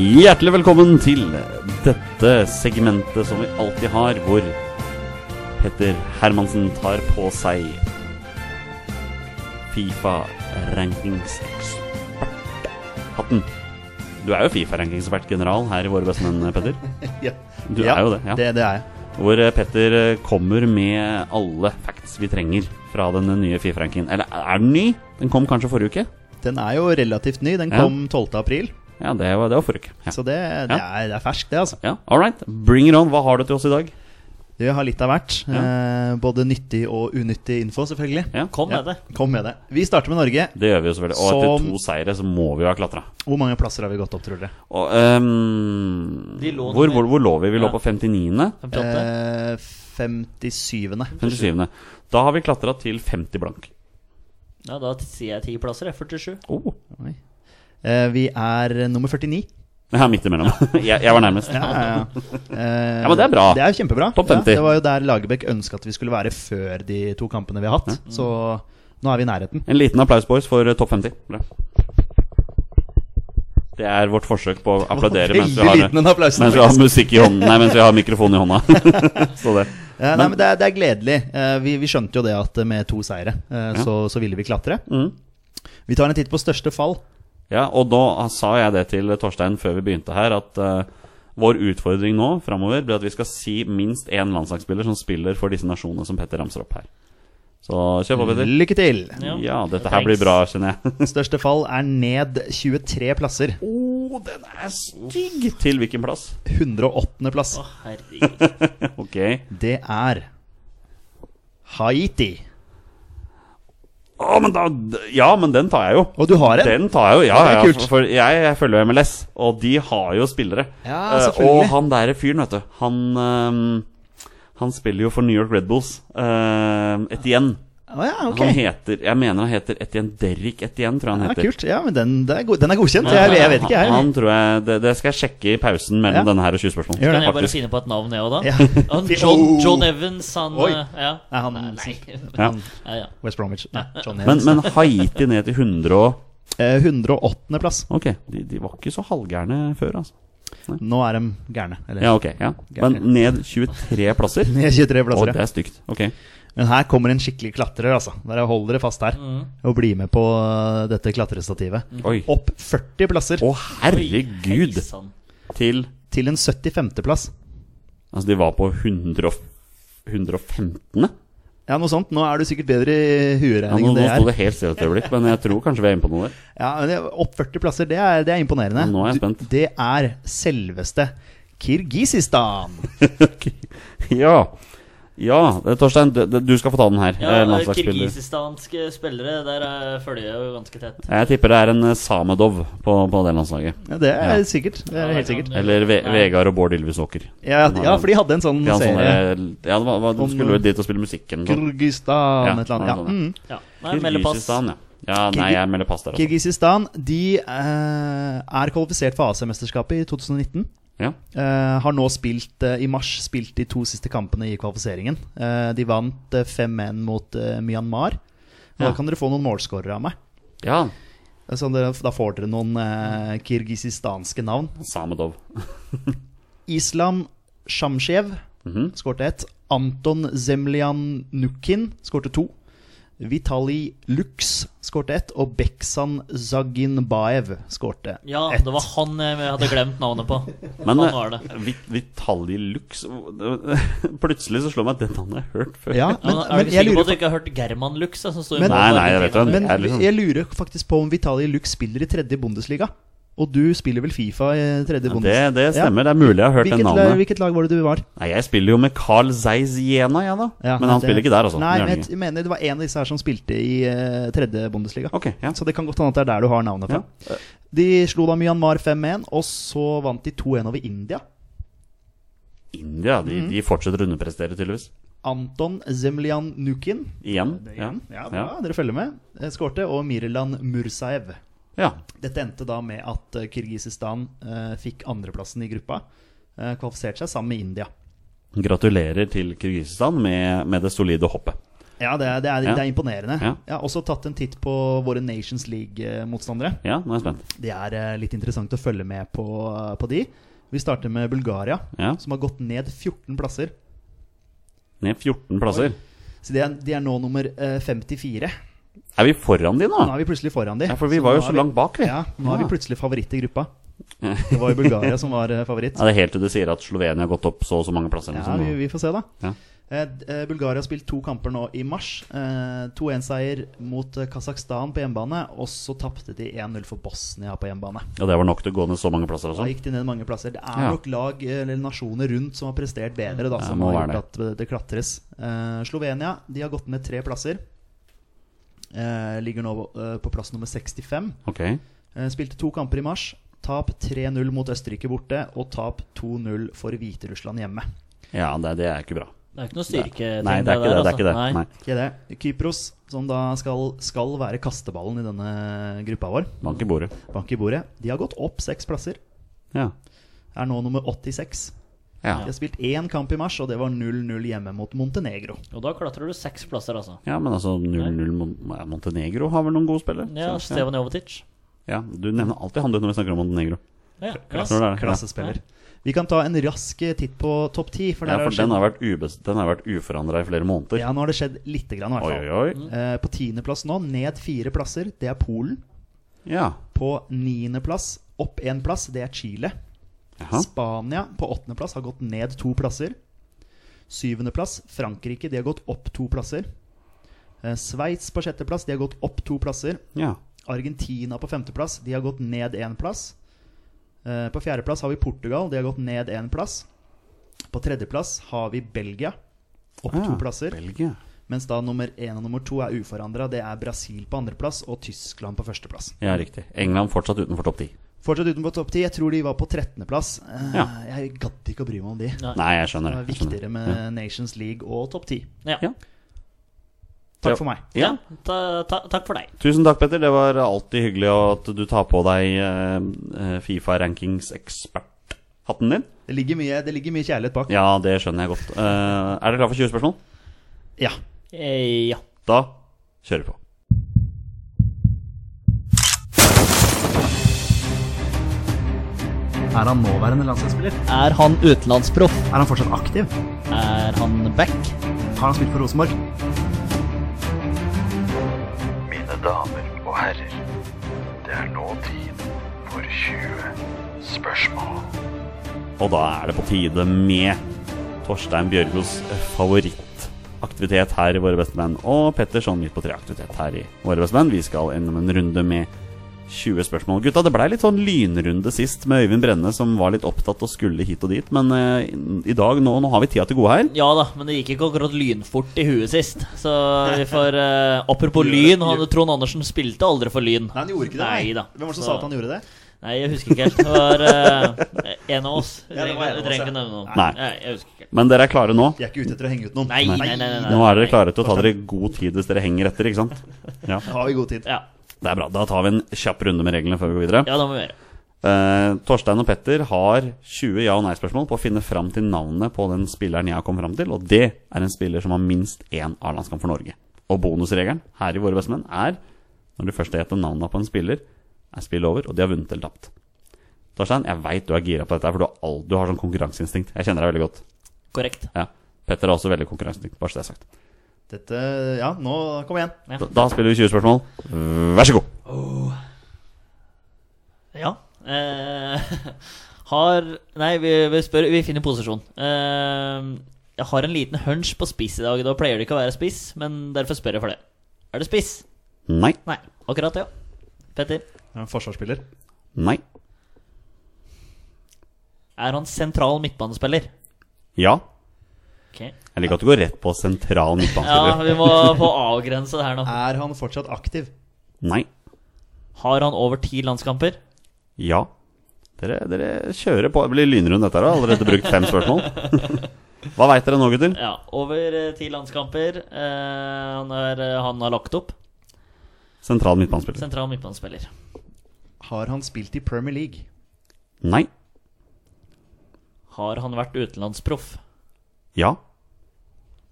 Speaker 2: Hjertelig velkommen til dette segmentet som vi alltid har, hvor Petter Hermansen tar på seg Fifa-rankingsekspert-hatten. Du er jo Fifa-rankingsekspert-general her i Våre bestemenn, Petter.
Speaker 3: Ja.
Speaker 2: Du
Speaker 3: Ja,
Speaker 2: er jo det, ja.
Speaker 3: det, det er jeg.
Speaker 2: Hvor eh, Petter eh, kommer med alle facts vi trenger fra den nye Fifa-rankingen. Eller er den ny? Den kom kanskje forrige uke?
Speaker 3: Den er jo relativt ny. Den
Speaker 2: Ja.
Speaker 3: kom 12. april,
Speaker 2: Ja, det var, det var forrige uke. Ja.
Speaker 3: så det, det, er, det er ferskt, det, altså.
Speaker 2: Ja, All right. Bring it on. Hva har du til oss i dag?
Speaker 3: Vi har litt av hvert. Eh, både nyttig og unyttig info, selvfølgelig.
Speaker 2: Ja.
Speaker 4: Kom
Speaker 3: Ja,
Speaker 4: med Sånn det.
Speaker 3: Kom med det. Vi starter med Norge.
Speaker 2: Det gjør vi jo selvfølgelig. Og etter
Speaker 3: Som-
Speaker 2: to seire så må vi jo ha klatra.
Speaker 3: Hvor mange plasser har vi gått opp, tror dere?
Speaker 2: Og, ehm,
Speaker 4: De lå
Speaker 2: hvor,
Speaker 4: ned.
Speaker 2: hvor, hvor lå vi? Vi lå
Speaker 4: Ja.
Speaker 2: på 59.
Speaker 4: 58.
Speaker 3: Eh, 57.
Speaker 2: 57. Da har vi klatra til 50 blank.
Speaker 4: Ja, da sier jeg ti plasser. jeg. 47.
Speaker 2: Oh.
Speaker 3: Oi. Eh, vi er nummer 49.
Speaker 2: Ja, midt
Speaker 4: [LAUGHS]
Speaker 2: imellom. jeg, jeg var nærmest.
Speaker 3: Ja, ja, ja. Eh,
Speaker 2: Ja, men det er bra.
Speaker 3: Det er jo kjempebra.
Speaker 2: Topp 50.
Speaker 3: Ja, det var jo der Lagerbäck ønska at vi skulle være før de to kampene vi har hatt. Så nå er vi i nærheten.
Speaker 2: En liten applaus, boys, for eh, topp 50. Bra. Det er vårt forsøk på å applaudere mens vi
Speaker 3: Veldig
Speaker 2: har,
Speaker 3: liten en applaus.
Speaker 2: mens vi har musikk i hånden Nei, mens vi har mikrofonen i hånda. [LAUGHS] så det.
Speaker 3: Eh, nei, men det er, det er gledelig. Eh, vi, vi skjønte jo det at med to seire eh, så, så ville vi klatre.
Speaker 2: Mm.
Speaker 3: Vi tar en titt på største fall.
Speaker 2: Ja, og da sa jeg det til Torstein før vi begynte her, at eh, vår utfordring nå framover blir at vi skal si minst én landslagsspiller som spiller for disse nasjonene som Petter ramser opp her. Så kjør på, Petter.
Speaker 3: Lykke til!
Speaker 4: Ja.
Speaker 2: Ja, dette her blir
Speaker 4: Thanks.
Speaker 2: bra, kjenner jeg.
Speaker 3: Største fall er ned 23 plasser.
Speaker 2: Å, den er stygg! [LAUGHS] Til hvilken plass?
Speaker 3: 108. plass.
Speaker 4: Å, herregud.
Speaker 2: Ok.
Speaker 3: Det er Haiti.
Speaker 2: Å, men da Ja, men den tar jeg jo.
Speaker 3: Og du har en?
Speaker 2: [LAUGHS] Den tar jeg jo, ja.
Speaker 3: det er
Speaker 2: ja,
Speaker 3: kult.
Speaker 2: for- for jeg, jeg følger jo MLS, og de har jo spillere.
Speaker 3: Ja,
Speaker 2: Eh,
Speaker 3: selvfølgelig.
Speaker 2: og han derre fyren, vet du, han ehm, Han spiller jo for New York Red Bulls. Uh, Etienne.
Speaker 3: Å ja, ok.
Speaker 2: Han heter Jeg mener han heter Etienne Derrick Etienne, tror jeg han
Speaker 3: Ja,
Speaker 2: heter.
Speaker 3: kult. Ja, men den, det er go den er godkjent. Jeg, jeg vet ikke, jeg.
Speaker 2: Han, han tror jeg det, det skal jeg sjekke i pausen mellom
Speaker 3: Ja.
Speaker 2: denne her og 20 spørsmål.
Speaker 3: Gjør
Speaker 4: Kan jeg bare
Speaker 2: Faktisk.
Speaker 4: finne på et navn, jeg òg, da?
Speaker 3: Ja.
Speaker 4: Han, John,
Speaker 3: Oh.
Speaker 4: John Evans, han
Speaker 3: Oi.
Speaker 4: eh, Ja.
Speaker 3: Er han-
Speaker 4: Nei, nei.
Speaker 2: Ja.
Speaker 4: [LAUGHS] Ja, ja.
Speaker 3: West Bromwich. Nei, John
Speaker 2: Men,
Speaker 3: Evans.
Speaker 2: men Haiti ned til 100 og
Speaker 3: Eh, 108. plass.
Speaker 2: Ok, de, de var ikke så halvgærne før, altså.
Speaker 3: Nå er de gærne. Eller [LAUGHS]
Speaker 2: Ja, ok. ja Men ned 23 plasser?
Speaker 3: ned 23
Speaker 2: Å,
Speaker 3: plasser.
Speaker 2: det
Speaker 3: ja.
Speaker 2: er stygt. Ok.
Speaker 3: Men her kommer en skikkelig klatrer, altså. Dere holder dere fast her
Speaker 2: Mm.
Speaker 3: og blir med på eh, dette klatrestativet.
Speaker 2: Oi. Å,
Speaker 3: Opp 40 plasser
Speaker 2: herregud!
Speaker 4: Hei, sann.
Speaker 2: Til
Speaker 3: til en 75. plass.
Speaker 2: Altså, de var på 100 og, 115.
Speaker 3: Ja, noe sånt. Nå er du sikkert bedre i
Speaker 2: Ja, nå
Speaker 3: hueregning
Speaker 2: nå
Speaker 3: enn det
Speaker 2: sto
Speaker 3: jeg er.
Speaker 2: det helt stille et øyeblikk, men jeg tror kanskje vi er inne på
Speaker 3: [LAUGHS]
Speaker 2: noe der.
Speaker 3: Ja, men det, opp 40 plasser, det er, det er imponerende.
Speaker 2: Nå er jeg
Speaker 3: Du-
Speaker 2: spent.
Speaker 3: Det er selveste Kirgisistan.
Speaker 2: Ok. Ja. ja, eh, Torstein, du, du skal få ta den her. eh,
Speaker 4: Ja,
Speaker 2: landslagsspiller.
Speaker 4: Kirgisistanske spillere, der eh, følger jeg jo ganske tett.
Speaker 2: Jeg tipper det er en eh, Samedov på, på det landslaget.
Speaker 3: Ja, Det er
Speaker 2: Ja.
Speaker 3: sikkert. Det er sånn. helt sikkert.
Speaker 2: Eller Ve
Speaker 4: Nei.
Speaker 2: Vegard og Bård Ylvisåker.
Speaker 3: Ja, ja, for de hadde en sånn
Speaker 2: De har en sånn,
Speaker 3: serie.
Speaker 2: eh, ja, det var, var, de skulle jo dit og spille musikken.
Speaker 3: Kirgisistan,
Speaker 2: Ja, sånn
Speaker 3: et eller annet. Ja.
Speaker 2: noe sånt,
Speaker 3: Mm.
Speaker 4: Ja. Nei, melder pass.
Speaker 2: ja. ja. Nei, jeg melder pass der, altså.
Speaker 3: Kirgisistan de eh, er kvalifisert for AC-mesterskapet i 2019.
Speaker 2: Ja.
Speaker 3: Eh, har nå spilt eh, i mars spilt de to siste kampene i kvalifiseringen. Eh, de vant eh, 5-1 mot eh, Myanmar. Og
Speaker 2: Ja.
Speaker 3: Da kan dere få noen målskårere av meg.
Speaker 2: ja.
Speaker 3: Eh, Så dere, da får dere noen eh, kirgisistanske navn.
Speaker 2: Samedov.
Speaker 3: Islam Shamshev
Speaker 2: Mhm.
Speaker 3: skårte ett. Anton Zemljan Nukin skårte to. Vitali Lux skårte ett. Og Beksan Zaginbaev skårte
Speaker 4: Ja,
Speaker 3: ett.
Speaker 4: det var han eh, jeg hadde glemt navnet på.
Speaker 2: Men
Speaker 4: han
Speaker 2: eh,
Speaker 4: var det.
Speaker 2: Vit- Vitali Lux [LAUGHS] Plutselig så slår meg at den navnet har jeg hørt før.
Speaker 3: Ja,
Speaker 4: Men,
Speaker 3: men, men
Speaker 4: er du ikke
Speaker 3: jeg
Speaker 4: sikker på
Speaker 3: lurer
Speaker 4: at du ikke har hørt German Lux? da, Som står i
Speaker 3: Men-
Speaker 4: mål
Speaker 2: Nei,
Speaker 4: for
Speaker 2: nei, jeg vet
Speaker 4: Argentina?
Speaker 2: det.
Speaker 3: Men
Speaker 2: Er liksom-
Speaker 3: jeg lurer faktisk på om Vitali Lux spiller i tredje Bundesliga. Og du spiller vel Fifa i tredje
Speaker 2: Det,
Speaker 3: Bundesliga?
Speaker 2: det stemmer. Det er mulig jeg har hørt det
Speaker 3: Hvilket,
Speaker 2: navnet.
Speaker 3: lag- hvilket lag var det du var?
Speaker 2: Nei, jeg spiller jo med Carl Zeiss Jena, jeg da.
Speaker 3: Ja,
Speaker 2: men han
Speaker 3: det-
Speaker 2: spiller ikke der, altså.
Speaker 3: Nei,
Speaker 2: Det gjør
Speaker 3: men
Speaker 2: han
Speaker 3: jeg
Speaker 2: ikke.
Speaker 3: t- mener det var en av disse her som spilte i eh, tredje Bundesliga.
Speaker 2: Ok, ja. Eh.
Speaker 3: Så det kan godt hende at det er der du har navnet fra. De slo da Myanmar 5-1, og så vant de 2-1 over India.
Speaker 2: India, de,
Speaker 3: Mm.
Speaker 2: de fortsetter å underprestere, tydeligvis.
Speaker 3: Anton Zemljan Nukin
Speaker 2: Igjen. Ja.
Speaker 3: igjen. Ja, bra,
Speaker 2: Ja.
Speaker 3: dere følger med. Eh, Skårte. Og Mirlan Mursaev.
Speaker 2: ja.
Speaker 3: Dette endte da med at eh, Kirgisistan eh, fikk andreplassen i gruppa. Eh, kvalifiserte seg sammen med India.
Speaker 2: Gratulerer til Kirgisistan med, med det solide hoppet.
Speaker 3: Ja, det er, det er,
Speaker 2: Ja.
Speaker 3: Det er imponerende.
Speaker 2: Ja.
Speaker 3: Jeg har også tatt en titt på våre Nations League-motstandere.
Speaker 2: Ja, nå er jeg spent.
Speaker 3: Det er eh, litt interessant å følge med på, eh, på de. Vi starter med Bulgaria,
Speaker 2: Ja.
Speaker 3: som har gått ned 14 plasser.
Speaker 2: Ned 14 plasser.
Speaker 3: Så de er, de er nå nummer eh, 54.
Speaker 2: Er vi foran de nå?
Speaker 3: Nå er vi plutselig foran de.
Speaker 2: Ah. Ja, for vi var
Speaker 3: nå
Speaker 2: jo
Speaker 3: er
Speaker 2: så langt bak, vi. Ah.
Speaker 3: Ja, nå er
Speaker 2: Ja.
Speaker 3: vi plutselig favoritt i gruppa. Det var jo Bulgaria som var eh, favoritt.
Speaker 2: [LAUGHS] Ja, det er helt til du sier at Slovenia har gått opp så og så mange plasser. eller
Speaker 3: Ja,
Speaker 2: noe
Speaker 3: vi,
Speaker 2: sånt.
Speaker 3: vi får se, da.
Speaker 2: Ja.
Speaker 3: Eh, d- eh, Bulgaria har spilt to kamper nå i mars. Eh, 2-1-seier mot eh, Kasakhstan på hjemmebane, og så tapte de 1-0 for Bosnia på hjemmebane.
Speaker 2: Ja, det var nok til å gå ned så mange plasser sånn.
Speaker 3: Da
Speaker 2: også.
Speaker 3: gikk de ned mange plasser. Det er
Speaker 2: Ja.
Speaker 3: nok lag eh, eller nasjoner rundt som har prestert bedre, da,
Speaker 2: Det
Speaker 3: som
Speaker 2: må
Speaker 3: har
Speaker 2: være
Speaker 3: gjort at eh, det klatres. Eh, Slovenia de har gått ned tre plasser. Eh, ligger nå eh, på plass nummer 65.
Speaker 2: Ok.
Speaker 3: Eh, Spilte to kamper i mars. Tap 3-0 mot Østerrike borte, og tap 2-0 for Hviterussland hjemme.
Speaker 2: Ja, det, det er ikke bra.
Speaker 4: Det er ikke noe styrketing
Speaker 2: Nei, det er ikke det. det, er ikke det.
Speaker 4: altså.
Speaker 2: Nei.
Speaker 3: Ikke det. Kypros, som da skal, skal være kasteballen i denne gruppa vår,
Speaker 2: Bank i bordet.
Speaker 3: bank i bordet, de har gått opp seks plasser.
Speaker 2: Ja.
Speaker 3: Er nå nummer 86.
Speaker 2: Ja.
Speaker 3: De har spilt én kamp i mars, og det var 0-0 hjemme mot Montenegro.
Speaker 4: Og da klatrer du seks plasser, altså.
Speaker 2: ja, men altså 0-0 Mon ja, Montenegro har vel noen gode spillere?
Speaker 3: Sånn,
Speaker 4: Ja,
Speaker 2: Så,
Speaker 4: Stevan Jovetic.
Speaker 2: ja. Du nevner alltid han du når vi snakker om Montenegro.
Speaker 4: Ja, ja.
Speaker 2: Klasse. det er det.
Speaker 3: Klassespiller. Vi kan ta en rask titt på topp ti, for,
Speaker 2: Ja,
Speaker 3: der har
Speaker 2: for
Speaker 3: det
Speaker 2: den
Speaker 3: skjedd-
Speaker 2: har vært, ubes- den har vært uforandra i flere måneder.
Speaker 3: ja, nå har det skjedd lite grann, i hvert
Speaker 2: Oi,
Speaker 3: fall.
Speaker 2: oi, oi.
Speaker 3: Eh, På tiendeplass nå, ned fire plasser, det er Polen.
Speaker 2: Ja.
Speaker 3: På niendeplass, opp én plass, det er Chile.
Speaker 2: Jaha.
Speaker 3: Spania på åttendeplass har gått ned to plasser. Syvendeplass, Frankrike, de har gått opp to plasser. Eh, Sveits på sjetteplass, de har gått opp to plasser.
Speaker 2: Ja.
Speaker 3: Argentina på femteplass, de har gått ned én plass. Eh, På fjerdeplass har vi Portugal, de har gått ned én plass. På tredjeplass har vi Belgia, opp
Speaker 2: Ah,
Speaker 3: to plasser.
Speaker 2: Belgia.
Speaker 3: Mens da nummer én og nummer to er uforandra. Det er Brasil på andreplass og Tyskland på førsteplass.
Speaker 2: Ja, riktig. England fortsatt utenfor topp 10.
Speaker 3: Fortsatt utenfor topp ti. Jeg tror de var på 13.-plass.
Speaker 2: Ja.
Speaker 3: Jeg gadd ikke å bry meg om de.
Speaker 4: Nei.
Speaker 2: Nei, jeg skjønner
Speaker 3: Det
Speaker 2: det. Jeg skjønner
Speaker 3: var
Speaker 2: det.
Speaker 3: viktigere med Nations League og topp ti.
Speaker 4: Ja.
Speaker 2: Ja.
Speaker 4: Ja.
Speaker 2: Ja.
Speaker 3: Takk for meg.
Speaker 2: Ja.
Speaker 4: ta, ta, takk for deg.
Speaker 2: Tusen takk, Petter. Det var alltid hyggelig at du tar på deg eh, eh, Fifa-rankings-ekspert-hatten din.
Speaker 3: Det ligger mye, det ligger mye kjærlighet bak.
Speaker 2: Ja, det skjønner jeg godt. Eh, er dere klar for 20 spørsmål?
Speaker 3: Ja.
Speaker 4: Eh, Ja.
Speaker 2: Da kjører vi på.
Speaker 3: Er han nåværende landslagsspiller?
Speaker 4: Er han utenlandsproff?
Speaker 3: Er han fortsatt aktiv?
Speaker 4: Er han back?
Speaker 3: Har han spilt for Rosenborg?
Speaker 5: Mine damer og herrer, det er nå tid for 20 spørsmål.
Speaker 2: Og da er det på tide med Torstein Bjørgos favorittaktivitet her i Våre bestemenn. Og Petter sånn midt på tre-aktivitet her i Våre bestemenn. Vi skal innom en runde med 20 spørsmål. Gutta, det blei litt sånn lynrunde sist med Øyvind Brenne, som var litt opptatt og skulle hit og dit. Men eh, i dag, nå, nå har vi tida til gode her.
Speaker 4: Ja da, men det gikk ikke akkurat lynfort i huet sist. Så vi får eh, Apropos lyn, han, Trond Andersen spilte aldri for lyn.
Speaker 3: Nei, han gjorde ikke det.
Speaker 4: Nei da.
Speaker 3: Hvem var det som
Speaker 4: Så-
Speaker 3: sa at han gjorde det?
Speaker 4: Nei, jeg husker ikke helt. Det var eh, en av oss. Vi
Speaker 3: Ja, det var en av
Speaker 4: trenger vi
Speaker 3: oss,
Speaker 4: trenger ikke
Speaker 3: ja.
Speaker 4: nevne noen.
Speaker 2: Nei.
Speaker 4: jeg husker ikke helt.
Speaker 2: Men dere er klare nå?
Speaker 3: Jeg er ikke ute etter å henge ut noen.
Speaker 4: Nei, nei, nei, nei, nei.
Speaker 2: Nå er dere klare til å ta dere god tid hvis dere henger etter, ikke sant? Ja,
Speaker 3: Da har vi god tid.
Speaker 4: Ja,
Speaker 2: Det er bra. Da tar vi en kjapp runde med reglene før vi går videre.
Speaker 4: ja det må vi gjøre.
Speaker 2: Eh, Torstein og Petter har 20 ja- og nei-spørsmål på å finne fram til navnet på den spilleren jeg har kommet fram til, og det er en spiller som har minst én A-landskamp for Norge. Og bonusregelen her i Våre bestemenn er når du først gjetter navnet på en spiller, er spillet over, og de har vunnet eller tapt. Torstein, jeg veit du er gira på dette, her, for du har, all, du har sånn konkurranseinstinkt. Jeg kjenner deg veldig godt.
Speaker 4: Korrekt.
Speaker 2: Ja. Petter har også veldig konkurranseinstinkt, bare så det er sagt.
Speaker 3: Dette Ja, nå Kom igjen.
Speaker 2: Da, da spiller vi 20 spørsmål. Vær så god.
Speaker 4: Ja. Eh, [LAUGHS] har Nei, vi, vi spør Vi finner posisjon. Eh, jeg har en liten hunch på spiss i dag. Da pleier det ikke å være spiss, men derfor spør jeg for det. Er det spiss?
Speaker 2: Nei.
Speaker 4: Nei. Akkurat det, ja. Petter.
Speaker 3: Det er En forsvarsspiller.
Speaker 2: Nei.
Speaker 4: Er han sentral midtbanespiller?
Speaker 2: Ja.
Speaker 4: Ok.
Speaker 2: Jeg liker at du går rett på sentral
Speaker 4: Ja,
Speaker 2: midtbanespiller.
Speaker 4: vi må få avgrense det her nå.
Speaker 3: Er han fortsatt aktiv?
Speaker 2: Nei.
Speaker 4: Har han over ti landskamper?
Speaker 2: Ja. Dere, dere kjører på. Det blir lynrunde, dette her. har Allerede brukt fem spørsmål. Hva veit dere nå, gutter?
Speaker 4: Ja, over eh, ti landskamper. Eh, han, er, eh, han har lagt opp.
Speaker 2: Sentral midtbanespiller.
Speaker 4: Sentral midtbanespiller.
Speaker 3: Har han spilt i Premier League?
Speaker 2: Nei.
Speaker 4: Har han vært utenlandsproff?
Speaker 2: Ja.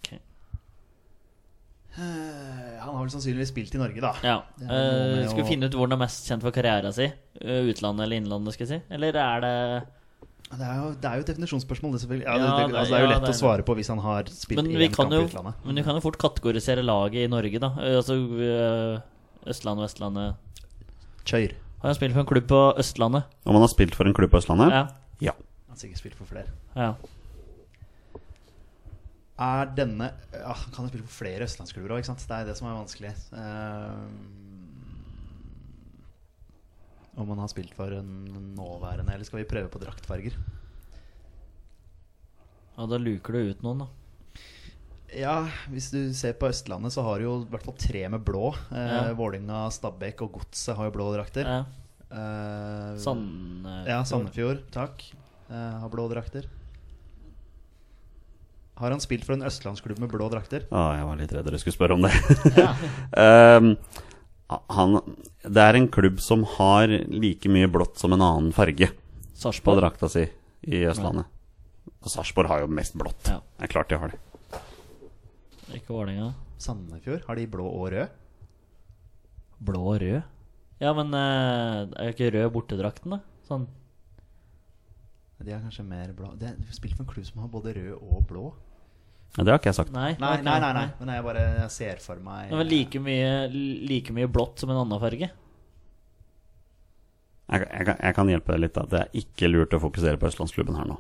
Speaker 4: Ok.
Speaker 3: Eh, Han har vel sannsynligvis spilt i Norge, da.
Speaker 4: Ja.
Speaker 3: Det er noe med
Speaker 4: Eh,
Speaker 3: å-
Speaker 4: skal vi finne ut hvor han er mest kjent for karrieren sin? Eh, Utlandet eller innlandet, skal jeg si? Eller er det
Speaker 3: Det er jo, det er jo et definisjonsspørsmål. Det, selvfølgelig. Ja, det,
Speaker 4: Ja,
Speaker 3: det,
Speaker 4: det-
Speaker 3: altså, det er jo
Speaker 4: ja,
Speaker 3: lett
Speaker 4: det
Speaker 3: å
Speaker 4: er
Speaker 3: svare på hvis han har spilt
Speaker 4: Men
Speaker 3: i
Speaker 4: vi
Speaker 3: en
Speaker 4: kan
Speaker 3: kamp i
Speaker 4: jo
Speaker 3: utlandet.
Speaker 4: Men vi kan jo fort kategorisere laget i Norge, da. Eh, Altså eh, Østlandet, Vestlandet
Speaker 3: Kjør.
Speaker 4: Har han spilt for en klubb på Østlandet?
Speaker 2: Om han har spilt for en klubb på Østlandet?
Speaker 4: Ja.
Speaker 2: Ja.
Speaker 3: Han har sikkert spilt for flere.
Speaker 4: ja.
Speaker 3: Er denne ja, Han kan jo spille for flere østlandsklubber òg, ikke sant? Det er det som er vanskelig. Eh, om han har spilt for en nåværende, eller skal vi prøve på draktfarger?
Speaker 4: Og da luker du ut noen, da.
Speaker 3: Ja, hvis du ser på Østlandet, så har du jo i hvert fall tre med blå. Eh,
Speaker 4: Ja.
Speaker 3: Vålinga, Stabæk og Godset har jo blå drakter.
Speaker 4: Ja.
Speaker 3: Eh,
Speaker 4: Sand...
Speaker 3: Ja, Sandefjord, takk. Eh, har blå drakter. Har han spilt for en østlandsklubb med blå drakter?
Speaker 2: Å, jeg var litt redd dere skulle spørre om det. [LAUGHS] um, han, det er en klubb som har like mye blått som en annen farge på
Speaker 4: Sarpsborg.
Speaker 2: drakta si i Østlandet. Og Sarpsborg har jo mest blått.
Speaker 4: Ja.
Speaker 2: Det er klart de har det.
Speaker 4: Ikke Vålerenga.
Speaker 3: Sandefjord, har de blå og rød?
Speaker 4: Blå og rød? Ja, men eh, er jo ikke rød bortedrakten, da? Sånn.
Speaker 3: De har kanskje mer blå De har spilt for en klubb som har både rød og blå.
Speaker 2: Ja, det har ikke jeg sagt.
Speaker 4: Nei.
Speaker 3: Nei,
Speaker 4: det er
Speaker 3: nei,
Speaker 4: ikke det.
Speaker 3: nei, nei. men jeg bare jeg ser for meg
Speaker 4: Det var like mye, like mye blått som en annen farge.
Speaker 2: Jeg, jeg, kan- jeg kan hjelpe deg litt. Da. Det er ikke lurt å fokusere på østlandsklubben her
Speaker 4: [LAUGHS]
Speaker 2: nå.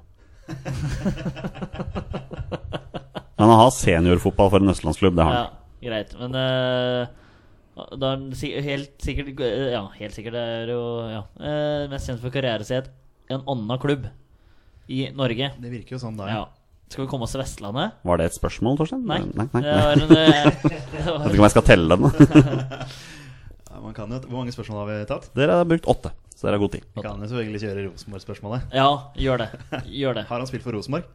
Speaker 2: Men han har seniorfotball for en østlandsklubb, det har
Speaker 4: Ja,
Speaker 2: han.
Speaker 4: greit. Men eh, da er den si- helt sikkert eh, Ja, helt sikkert det er jo ja. eh, mest kjent for karrieren sin et- en annen klubb i Norge.
Speaker 3: Det virker jo sånn da.
Speaker 4: Ja. Skal vi komme oss til Vestlandet?
Speaker 2: Var det et spørsmål, Torstein?
Speaker 4: Nei.
Speaker 2: nei, nei,
Speaker 4: Det
Speaker 2: nei.
Speaker 4: var en, eh,
Speaker 3: [LAUGHS]
Speaker 4: det
Speaker 2: Jeg vet
Speaker 4: var,
Speaker 2: ikke om jeg skal telle
Speaker 4: [LAUGHS]
Speaker 2: den. da.
Speaker 3: Ja, man kan jo, hvor mange spørsmål har vi tatt?
Speaker 2: Dere har brukt åtte, så dere har god tid.
Speaker 3: Vi kan jo selvfølgelig kjøre Rosenborg-spørsmålet.
Speaker 4: ja, gjør det. Gjør det.
Speaker 3: Har han spilt for Rosenborg?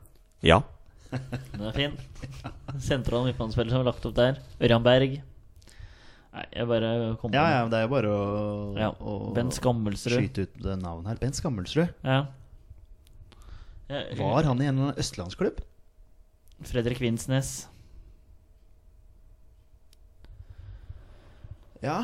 Speaker 2: Ja.
Speaker 4: Den er fin. Sentral midtbanespiller som er lagt opp der. Ørjan Berg. Nei, jeg bare kom på
Speaker 3: Ja, ja,
Speaker 4: det.
Speaker 3: men det er jo bare å,
Speaker 4: Mm. Ja,
Speaker 3: å
Speaker 4: Bent Skammelsrud.
Speaker 3: skyte ut det navnet her. Bent Skammelsrud.
Speaker 4: Ja. Jeg-
Speaker 3: Var han i en østlandsklubb?
Speaker 4: Fredrik Vinsnes.
Speaker 3: Ja.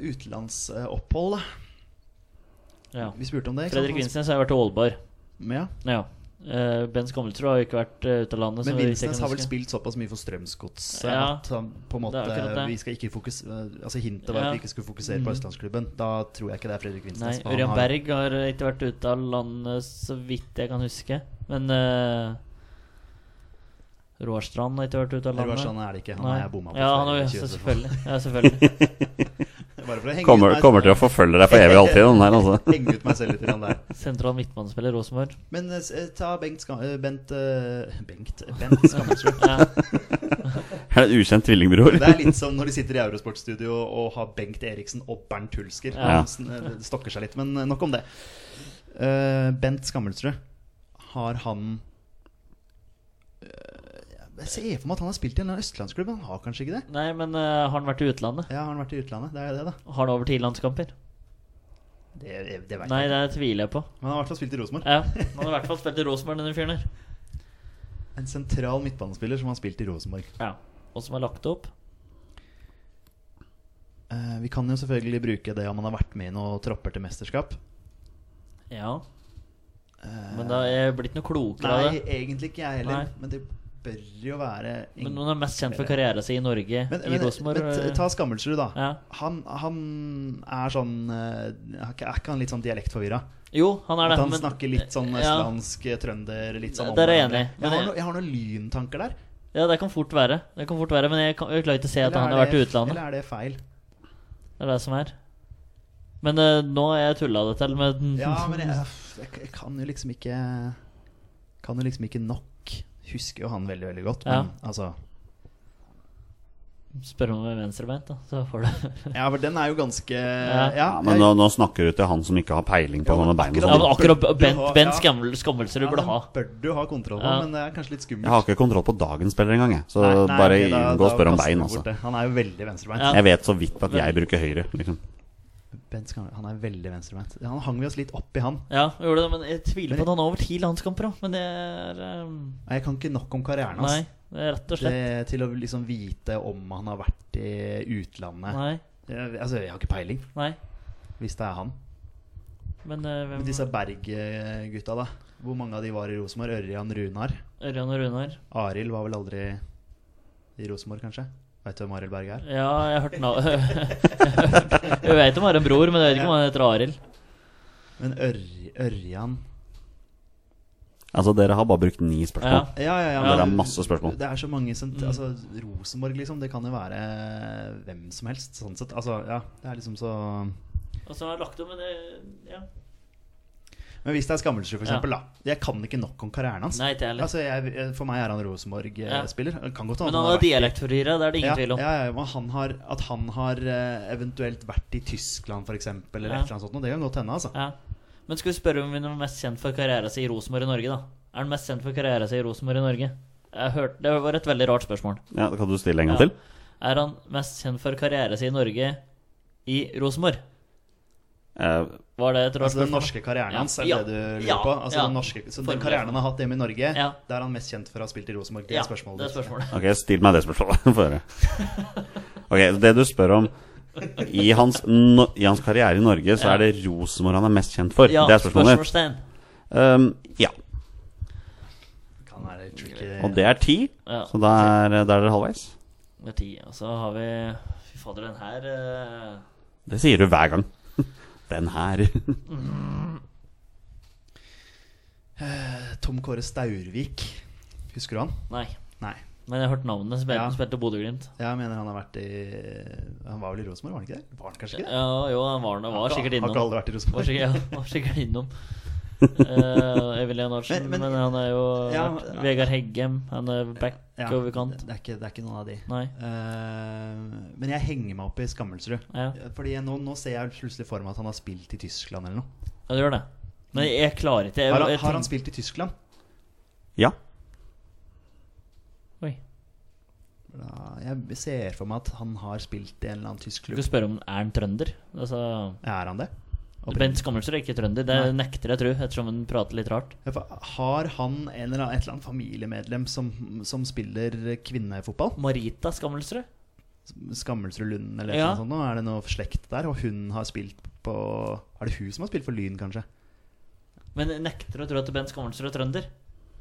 Speaker 3: Utenlandsopphold, da.
Speaker 4: Ja.
Speaker 3: Vi spurte om det. ikke sant?
Speaker 4: Fredrik Vinsnes har vært i Aalborg.
Speaker 3: Men, ja.
Speaker 4: Ja. Eh, ben Skammelsrud har jo ikke vært eh, ute av landet. så
Speaker 3: Men
Speaker 4: vidt jeg
Speaker 3: Vinsnes
Speaker 4: kan
Speaker 3: har vel
Speaker 4: huske.
Speaker 3: spilt såpass mye for Strømsgodset
Speaker 4: Ja,
Speaker 3: at han på en måte
Speaker 4: det er akkurat det.
Speaker 3: vi skal ikke fokus, Altså Hintet var
Speaker 4: Ja. Mm.
Speaker 3: at vi ikke skulle fokusere på østlandsklubben. Da tror jeg ikke det er Fredrik Vinsnes.
Speaker 4: Nei,
Speaker 3: for han
Speaker 4: Ørjan
Speaker 3: har-
Speaker 4: Berg har ikke vært ute av landet, så vidt jeg kan huske. Men eh, Roar Strand har ikke vært ute av landet.
Speaker 3: Roar Strand sånn er det ikke. Han
Speaker 4: Nei.
Speaker 3: har jeg bomma på.
Speaker 4: Ja,
Speaker 3: flere
Speaker 4: han har,
Speaker 3: ganger,
Speaker 4: ja,
Speaker 3: 20 spørsmål.
Speaker 4: selvfølgelig. Ja,
Speaker 3: [LAUGHS]
Speaker 4: selvfølgelig.
Speaker 3: Bare for å henge ut
Speaker 2: Kommer,
Speaker 3: meg-
Speaker 2: kommer til å forfølge deg for evig alltid, den der, altså.
Speaker 3: [LAUGHS] Henge ut meg selv litt grann der.
Speaker 4: Sentral midtbanespiller Rosenborg.
Speaker 3: Men eh, s- eh, ta Bengt Ska eh, Bent eh, Bengt, Bent Skammelsrud.
Speaker 4: Ja.
Speaker 2: Er det et ukjent tvillingbror?
Speaker 3: Det er litt som når de sitter i Eurosportstudio og har Bengt Eriksen og Bernt Hulsker.
Speaker 2: Ja.
Speaker 3: Han sn- eh, stokker seg litt, men nok om det. Eh, Bent Skammelsrud, har han Eh, Jeg ser for meg at han har spilt i en eller annen østlandsklubb, men han har kanskje ikke det?
Speaker 4: Nei, men eh, har han vært i utlandet?
Speaker 3: Ja, Har han vært i utlandet? Det er jo det, da.
Speaker 4: Har han over ti landskamper?
Speaker 3: Det, det vet
Speaker 4: Nei,
Speaker 3: jeg ikke.
Speaker 4: det tviler jeg på.
Speaker 3: Men han har i hvert fall spilt i Rosenborg.
Speaker 4: Ja, Han har i hvert fall spilt i Rosenborg, denne fyren her.
Speaker 3: En sentral midtbanespiller som har spilt i Rosenborg.
Speaker 4: Ja. Og som har lagt opp.
Speaker 3: Eh, vi kan jo selvfølgelig bruke det om han har vært med i noen tropper til mesterskap. Eh,
Speaker 4: Ja. Men da er jeg blitt noe klokere av
Speaker 3: Nei,
Speaker 4: det.
Speaker 3: egentlig ikke jeg heller,
Speaker 4: Nei.
Speaker 3: men det bør jo være
Speaker 4: Men noen er mest kjent for karrieren sin i Norge,
Speaker 3: Men,
Speaker 4: i
Speaker 3: men,
Speaker 4: Rosenborg.
Speaker 3: men t-
Speaker 4: eh,
Speaker 3: ta Skammelsrud, da.
Speaker 4: Ja.
Speaker 3: Han, han er sånn eh, Er ikke er ikke han litt sånn dialektforvirra?
Speaker 4: Jo, han er
Speaker 3: At
Speaker 4: det.
Speaker 3: han
Speaker 4: men-
Speaker 3: snakker litt sånn
Speaker 4: ja.
Speaker 3: østlandsk, trønder litt sånn om
Speaker 4: Der er jeg
Speaker 3: hverandre.
Speaker 4: enig, men
Speaker 3: Jeg har,
Speaker 4: jeg-
Speaker 3: no, jeg har noen lyntanker der.
Speaker 4: ja, det kan fort være. Det kan fort være Men jeg, kan, jeg klarer ikke å se at
Speaker 3: Eller
Speaker 4: han
Speaker 3: er
Speaker 4: har vært i
Speaker 3: det-
Speaker 4: utlandet.
Speaker 3: Eller er det feil?
Speaker 4: Det er det som er. Men eh, nå har jeg tulla det til med [LAUGHS] den.
Speaker 3: Ja, men jeg, f- jeg, jeg kan jo liksom ikke Kan jo liksom ikke nok. Husker jo han veldig, veldig godt, men altså
Speaker 4: Spør om jeg er venstrebeint, da, så får du
Speaker 3: Ja, for den er jo ganske Ja,
Speaker 4: Ja.
Speaker 2: Ja, men nå, nå snakker du til han som ikke har peiling på
Speaker 3: Ja,
Speaker 2: noe med
Speaker 3: men
Speaker 2: bein og
Speaker 4: Ja,
Speaker 2: sånn.
Speaker 4: men akkurat
Speaker 3: burde
Speaker 4: Ben,
Speaker 3: ha-
Speaker 4: ben
Speaker 3: ja.
Speaker 4: Skammel, Skammelsrud burde ha.
Speaker 3: den bør du ha kontroll på,
Speaker 4: Ja.
Speaker 3: men det er kanskje litt skummelt.
Speaker 2: Jeg har ikke kontroll på dagens spiller engang, jeg. Så
Speaker 3: Nei, nei,
Speaker 2: bare
Speaker 3: ok, da-
Speaker 2: unngå å
Speaker 3: da
Speaker 2: spørre om
Speaker 3: kaster
Speaker 2: bein,
Speaker 3: vi
Speaker 2: altså.
Speaker 3: bort det. Han er jo veldig venstrebeint.
Speaker 4: Ja.
Speaker 2: Jeg vet så vidt at jeg bruker høyre, liksom.
Speaker 3: Bent Skarne, han er veldig venstrebeint. Han hang vi oss litt opp i han.
Speaker 4: Ja, vi gjorde det, men jeg tviler
Speaker 3: Men-
Speaker 4: på at han har over ti landskamper. da, Men det er ehm,
Speaker 3: Nei, Jeg kan ikke nok om karrieren
Speaker 4: Nei.
Speaker 3: hans.
Speaker 4: Rett og slett.
Speaker 3: Det, til å liksom vite om han har vært i utlandet.
Speaker 4: Nei.
Speaker 3: Jeg, altså, jeg har ikke peiling,
Speaker 4: nei.
Speaker 3: hvis det er han.
Speaker 4: Men eh,
Speaker 3: Men
Speaker 4: hvem
Speaker 3: disse Berg-gutta, da. Hvor mange av de var i Rosenborg? Ørjan Runar?
Speaker 4: Ørjan og Runar.
Speaker 3: Arild var vel aldri i Rosenborg, kanskje? Veit du hvem Arild Berg er?
Speaker 4: Ja, jeg har hørt navnet [LAUGHS] Jeg vet om han har en bror, men jeg vet ikke om han heter Arild.
Speaker 3: Men Ør Ørjan
Speaker 2: Altså, dere har bare brukt ni
Speaker 4: Ja.
Speaker 2: spørsmål.
Speaker 3: Ja, ja, ja.
Speaker 2: Det er
Speaker 3: men-
Speaker 2: masse spørsmål.
Speaker 3: Det er så mange som
Speaker 4: Mm.
Speaker 3: Altså, Rosenborg, liksom. Det kan jo være hvem som helst, sånn sett. Altså, ja. Det er liksom så
Speaker 4: Og så har jeg lagt om en ja.
Speaker 3: Men hvis det er Skammelsrud, for
Speaker 4: Ja.
Speaker 3: eksempel, da. Jeg kan ikke nok om karrieren hans.
Speaker 4: Nei, ikke jeg heller.
Speaker 3: altså, jeg, for meg er han Rosenborg-spiller. Kan godt hende
Speaker 4: Men han
Speaker 3: vært
Speaker 4: har
Speaker 3: i-
Speaker 4: dialektforvirra, det er det
Speaker 3: ja,
Speaker 4: ingen tvil om.
Speaker 3: Ja, ja, men han har, at han har eh, eventuelt vært i Tyskland, f.eks., eller
Speaker 4: Ja.
Speaker 3: et eller annet sånt. noe, Det kan godt hende, altså.
Speaker 4: Ja. Men skal vi spørre om han er mest kjent for karrieren sin i Rosenborg i Norge, da? Er han mest kjent for karrieren sin i Rosenborg i Norge? Jeg hørte, det var et veldig rart spørsmål.
Speaker 2: Ja, da kan du stille en gang
Speaker 4: Ja.
Speaker 2: til?
Speaker 4: Er han mest kjent for karrieren sin i Norge i Rosenborg?
Speaker 2: Eh,
Speaker 4: Var det et rart
Speaker 3: Altså Den
Speaker 4: spørsmål?
Speaker 3: norske karrieren
Speaker 4: Ja.
Speaker 3: hans er
Speaker 4: Ja.
Speaker 3: det du lurer
Speaker 4: Ja.
Speaker 3: på? Altså
Speaker 4: Ja.
Speaker 3: den, norske, så den
Speaker 4: Formelig.
Speaker 3: karrieren han har hatt hjemme i Norge,
Speaker 4: Ja.
Speaker 3: der er han mest kjent for å ha spilt i Rosenborg? Det
Speaker 4: Ja,
Speaker 3: er spørsmålet.
Speaker 4: det er
Speaker 3: ditt.
Speaker 4: spørsmålet.
Speaker 2: Ok, still meg det spørsmålet. [LAUGHS] Få høre. Ok, så det du spør om i hans, no I hans karriere i Norge så
Speaker 4: Ja.
Speaker 2: er det Rosenborg han er mest kjent for.
Speaker 4: Ja,
Speaker 2: det er spørsmålet ditt.
Speaker 4: spørsmålstegn.
Speaker 2: Um, ja.
Speaker 3: Kan være tricky.
Speaker 2: Og det er ti,
Speaker 4: Ja.
Speaker 2: så da er, da er dere halvveis.
Speaker 4: Det er ti. Og så har vi Fy fader, den her eh,
Speaker 2: Det sier du hver gang. [LAUGHS] Den her. [LAUGHS]
Speaker 3: Tom Kåre Staurvik, husker du han?
Speaker 4: Nei.
Speaker 3: Nei.
Speaker 4: Men jeg har hørt navnet. Spilte,
Speaker 3: Ja.
Speaker 4: spilte Bodø-Glimt.
Speaker 3: Jeg mener han har vært i Han var vel i Rosenborg, var han ikke det? Var han kanskje ikke det?
Speaker 4: Ja, jo, han var, han var sikkert
Speaker 3: Har ikke
Speaker 4: innom.
Speaker 3: alle vært i
Speaker 4: Var
Speaker 3: Rosenborg?
Speaker 4: sikkert, ja, var sikkert
Speaker 3: [LAUGHS]
Speaker 4: innom. Eh, Evelyn Arsen, men,
Speaker 3: Men- men-
Speaker 4: han er jo
Speaker 3: Ja,
Speaker 4: vært-
Speaker 3: ja.
Speaker 4: Vegard Heggem. Han er back
Speaker 3: Ja,
Speaker 4: over kant.
Speaker 3: Det, er ikke, det er ikke noen av de.
Speaker 4: Nei.
Speaker 3: Eh, men jeg henger meg opp i Skammelsrud.
Speaker 4: Ja.
Speaker 3: Fordi jeg, nå, nå ser jeg plutselig for meg at han har spilt i Tyskland eller noe.
Speaker 4: Ja, du gjør det. Men jeg klarer ikke jeg,
Speaker 3: Har han,
Speaker 4: jeg
Speaker 3: har han
Speaker 4: tenk-
Speaker 3: spilt i Tyskland?
Speaker 2: Ja.
Speaker 4: Oi.
Speaker 3: Ja, jeg ser for meg at han har spilt i en eller annen tysk
Speaker 4: Du kan
Speaker 3: klubb.
Speaker 4: spørre om er han trønder. Altså,
Speaker 3: Er han det?
Speaker 4: Bent Skammelsrud er ikke trønder. Det nekter jeg å tro, ettersom han prater litt rart.
Speaker 3: Ja, for Har han en eller annen, et eller annet familiemedlem som, som spiller kvinnefotball?
Speaker 4: Marita Skammelsrud?
Speaker 3: Skammelsrud Lund eller
Speaker 4: Ja.
Speaker 3: noe sånt? nå? Er det noe slekt der? Og hun har spilt på Er det hun som har spilt for Lyn, kanskje?
Speaker 4: Men jeg nekter å tro at Bent Skammelsrud er trønder.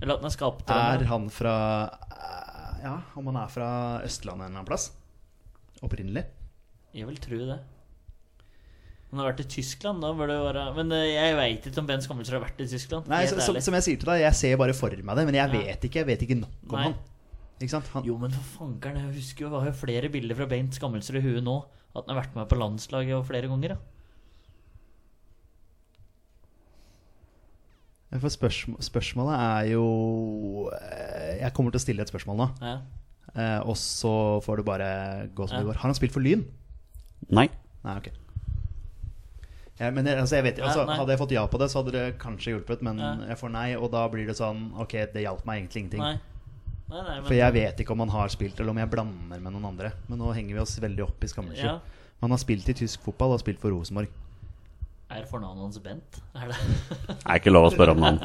Speaker 4: Eller at han er
Speaker 3: Er
Speaker 4: skaptrønder.
Speaker 3: han fra eh, Ja, om han er fra Østlandet en eller annen plass? Opprinnelig?
Speaker 4: Jeg vil tro det. Han har vært i Tyskland, da bør det jo være Men eh, jeg veit ikke om Bent Skammelsrud har vært i Tyskland.
Speaker 3: Nei,
Speaker 4: helt
Speaker 3: så, som,
Speaker 4: ærlig.
Speaker 3: som jeg sier til deg, jeg ser bare for meg det, men jeg vet ikke. Jeg vet ikke nok om
Speaker 4: Nei.
Speaker 3: han. Ikke sant? Han,
Speaker 4: Jo, men for fankeren, jeg husker jo, jeg har jo flere bilder fra Bent Skammelsrud i huet nå. At han har vært med på landslaget og flere ganger, ja.
Speaker 3: Ja, For spørsm spørsmålet er jo eh, Jeg kommer til å stille et spørsmål nå,
Speaker 4: ja.
Speaker 3: eh, og så får du bare gå som
Speaker 4: Ja.
Speaker 3: det går. Har han spilt for Lyn?
Speaker 2: Nei.
Speaker 3: Nei, ok. Ja, men jeg, altså, jeg vet,
Speaker 4: Ja,
Speaker 3: altså,
Speaker 4: nei.
Speaker 3: hadde jeg fått ja på det, så hadde det kanskje hjulpet, men
Speaker 4: Ja.
Speaker 3: jeg får nei, og da blir det sånn Ok, det hjalp meg egentlig ingenting.
Speaker 4: Nei. Nei, nei, men
Speaker 3: For jeg vet ikke om han har spilt, eller om jeg blander med noen andre. Men nå henger vi oss veldig opp i Skammelsrud.
Speaker 4: Ja.
Speaker 3: Han har spilt i tysk fotball og har spilt for Rosenborg.
Speaker 4: Er fornavnet hans Bent? Er det
Speaker 2: Er ikke lov å spørre om navn.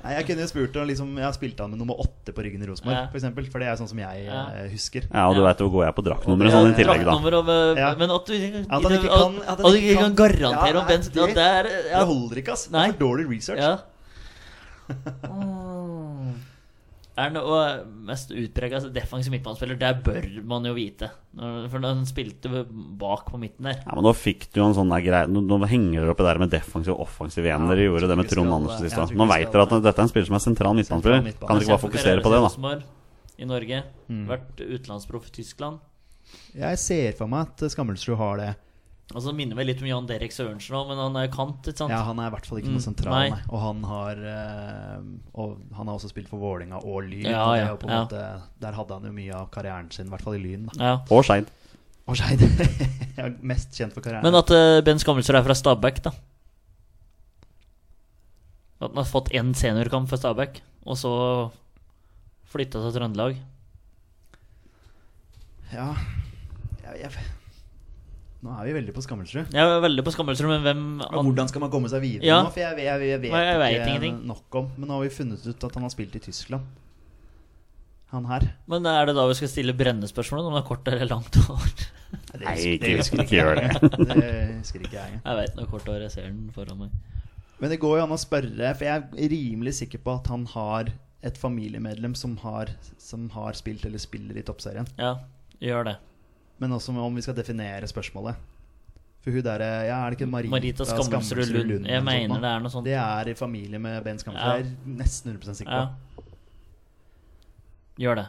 Speaker 3: Nei, Jeg kunne jo spurt om liksom, Jeg har spilt han med nummer åtte på ryggen i Rosenborg,
Speaker 4: Ja.
Speaker 3: for eksempel For det er sånn som jeg
Speaker 4: Ja.
Speaker 3: eh, husker.
Speaker 2: Ja, og du veit hvor går jeg på draktnummeret sånn i tillegg, da.
Speaker 4: Draktnummer og, eh,
Speaker 3: Ja.
Speaker 4: Men at du ikke,
Speaker 3: At han ikke kan- at han
Speaker 4: at du
Speaker 3: ikke
Speaker 4: ikke kan
Speaker 3: kan-
Speaker 4: garantere
Speaker 3: Ja, nei,
Speaker 4: om Bent
Speaker 3: det-
Speaker 4: at det er ja,
Speaker 3: Det holder ikke, ass. Det
Speaker 4: Nei.
Speaker 3: er for dårlig research.
Speaker 4: ja. Mm. [LAUGHS] Er han og mest utprega altså, defensiv midtbanespiller? Det bør man jo vite. Når- For han spilte bak på midten der.
Speaker 2: Ja, men Nå fikk du jo en sånn der greie Nå, nå henger dere oppe der med defensiv og offensiv igjen. Dere gjorde det med
Speaker 3: vi
Speaker 2: Trond
Speaker 3: skal-
Speaker 2: Andersen
Speaker 3: jeg
Speaker 2: sist.
Speaker 3: tror
Speaker 2: da.
Speaker 3: ikke
Speaker 2: Nå
Speaker 3: vi
Speaker 2: veit
Speaker 3: skal-
Speaker 2: dere at dette er en spiller som er sentral midtbanespiller.
Speaker 3: midtbane. liksom
Speaker 2: Kan dere ikke bare fokusere på det, da? Mm.
Speaker 4: Rosenborg I Norge. Vært utenlandsproff i Tyskland.
Speaker 3: Jeg ser for meg at Skammelsrud har det.
Speaker 4: Og så Altså, minner meg litt om Jan Derek Sørensen òg, men han er jo kant, ikke sant?
Speaker 3: Ja, Han er i hvert fall ikke noe
Speaker 4: Mm,
Speaker 3: sentral,
Speaker 4: nei.
Speaker 3: nei. Og han har eh, Og han har også spilt for Vålinga og Lyn.
Speaker 4: Ja,
Speaker 3: og det er
Speaker 4: ja,
Speaker 3: jo på en
Speaker 4: ja.
Speaker 3: måte, der hadde han jo mye av karrieren sin, i hvert fall i Lyn. da
Speaker 4: ja.
Speaker 2: Og Skeid.
Speaker 3: Og Skeid. [LAUGHS] Jeg er mest kjent for karrieren.
Speaker 4: Men at eh, Ben Skammelsrud er fra Stabæk, da. At han har fått én seniorkamp for Stabæk, og så flytta til Trøndelag.
Speaker 3: Ja jeg, jeg, Nå er vi veldig på Skammelsrud.
Speaker 4: Jeg er veldig på Skammelsrud, men hvem
Speaker 3: Men
Speaker 4: an-
Speaker 3: hvordan skal man komme seg videre
Speaker 4: Ja.
Speaker 3: nå? For jeg, jeg, jeg, vet
Speaker 4: Nei, jeg vet
Speaker 3: ikke
Speaker 4: ingenting.
Speaker 3: nok om Men nå har vi funnet ut at han har spilt i Tyskland. han her.
Speaker 4: Men er det da vi skal stille brennespørsmålet? Om det er kort eller langt hår? [LAUGHS]
Speaker 3: Det
Speaker 2: Nei,
Speaker 3: husker-
Speaker 2: ikke,
Speaker 3: husker
Speaker 2: ikke gjør det.
Speaker 3: jeg. Det husker ikke jeg.
Speaker 4: Jeg vet når kort hår jeg ser den foran meg.
Speaker 3: Men det går jo an å spørre, for jeg er rimelig sikker på at han har et familiemedlem som har, som har spilt eller spiller i Toppserien.
Speaker 4: Ja, gjør det.
Speaker 3: Men også om vi skal definere spørsmålet. For hun derre ja, Er det ikke Marita,
Speaker 4: Marita Skammelsrud Lund. Jeg
Speaker 3: eller noe sånt nå?
Speaker 4: mener det er noe sånt.
Speaker 3: Det er i familie med Ben Skammelsrud. Jeg er nesten 100 sikker
Speaker 4: Ja.
Speaker 3: på.
Speaker 4: Gjør det.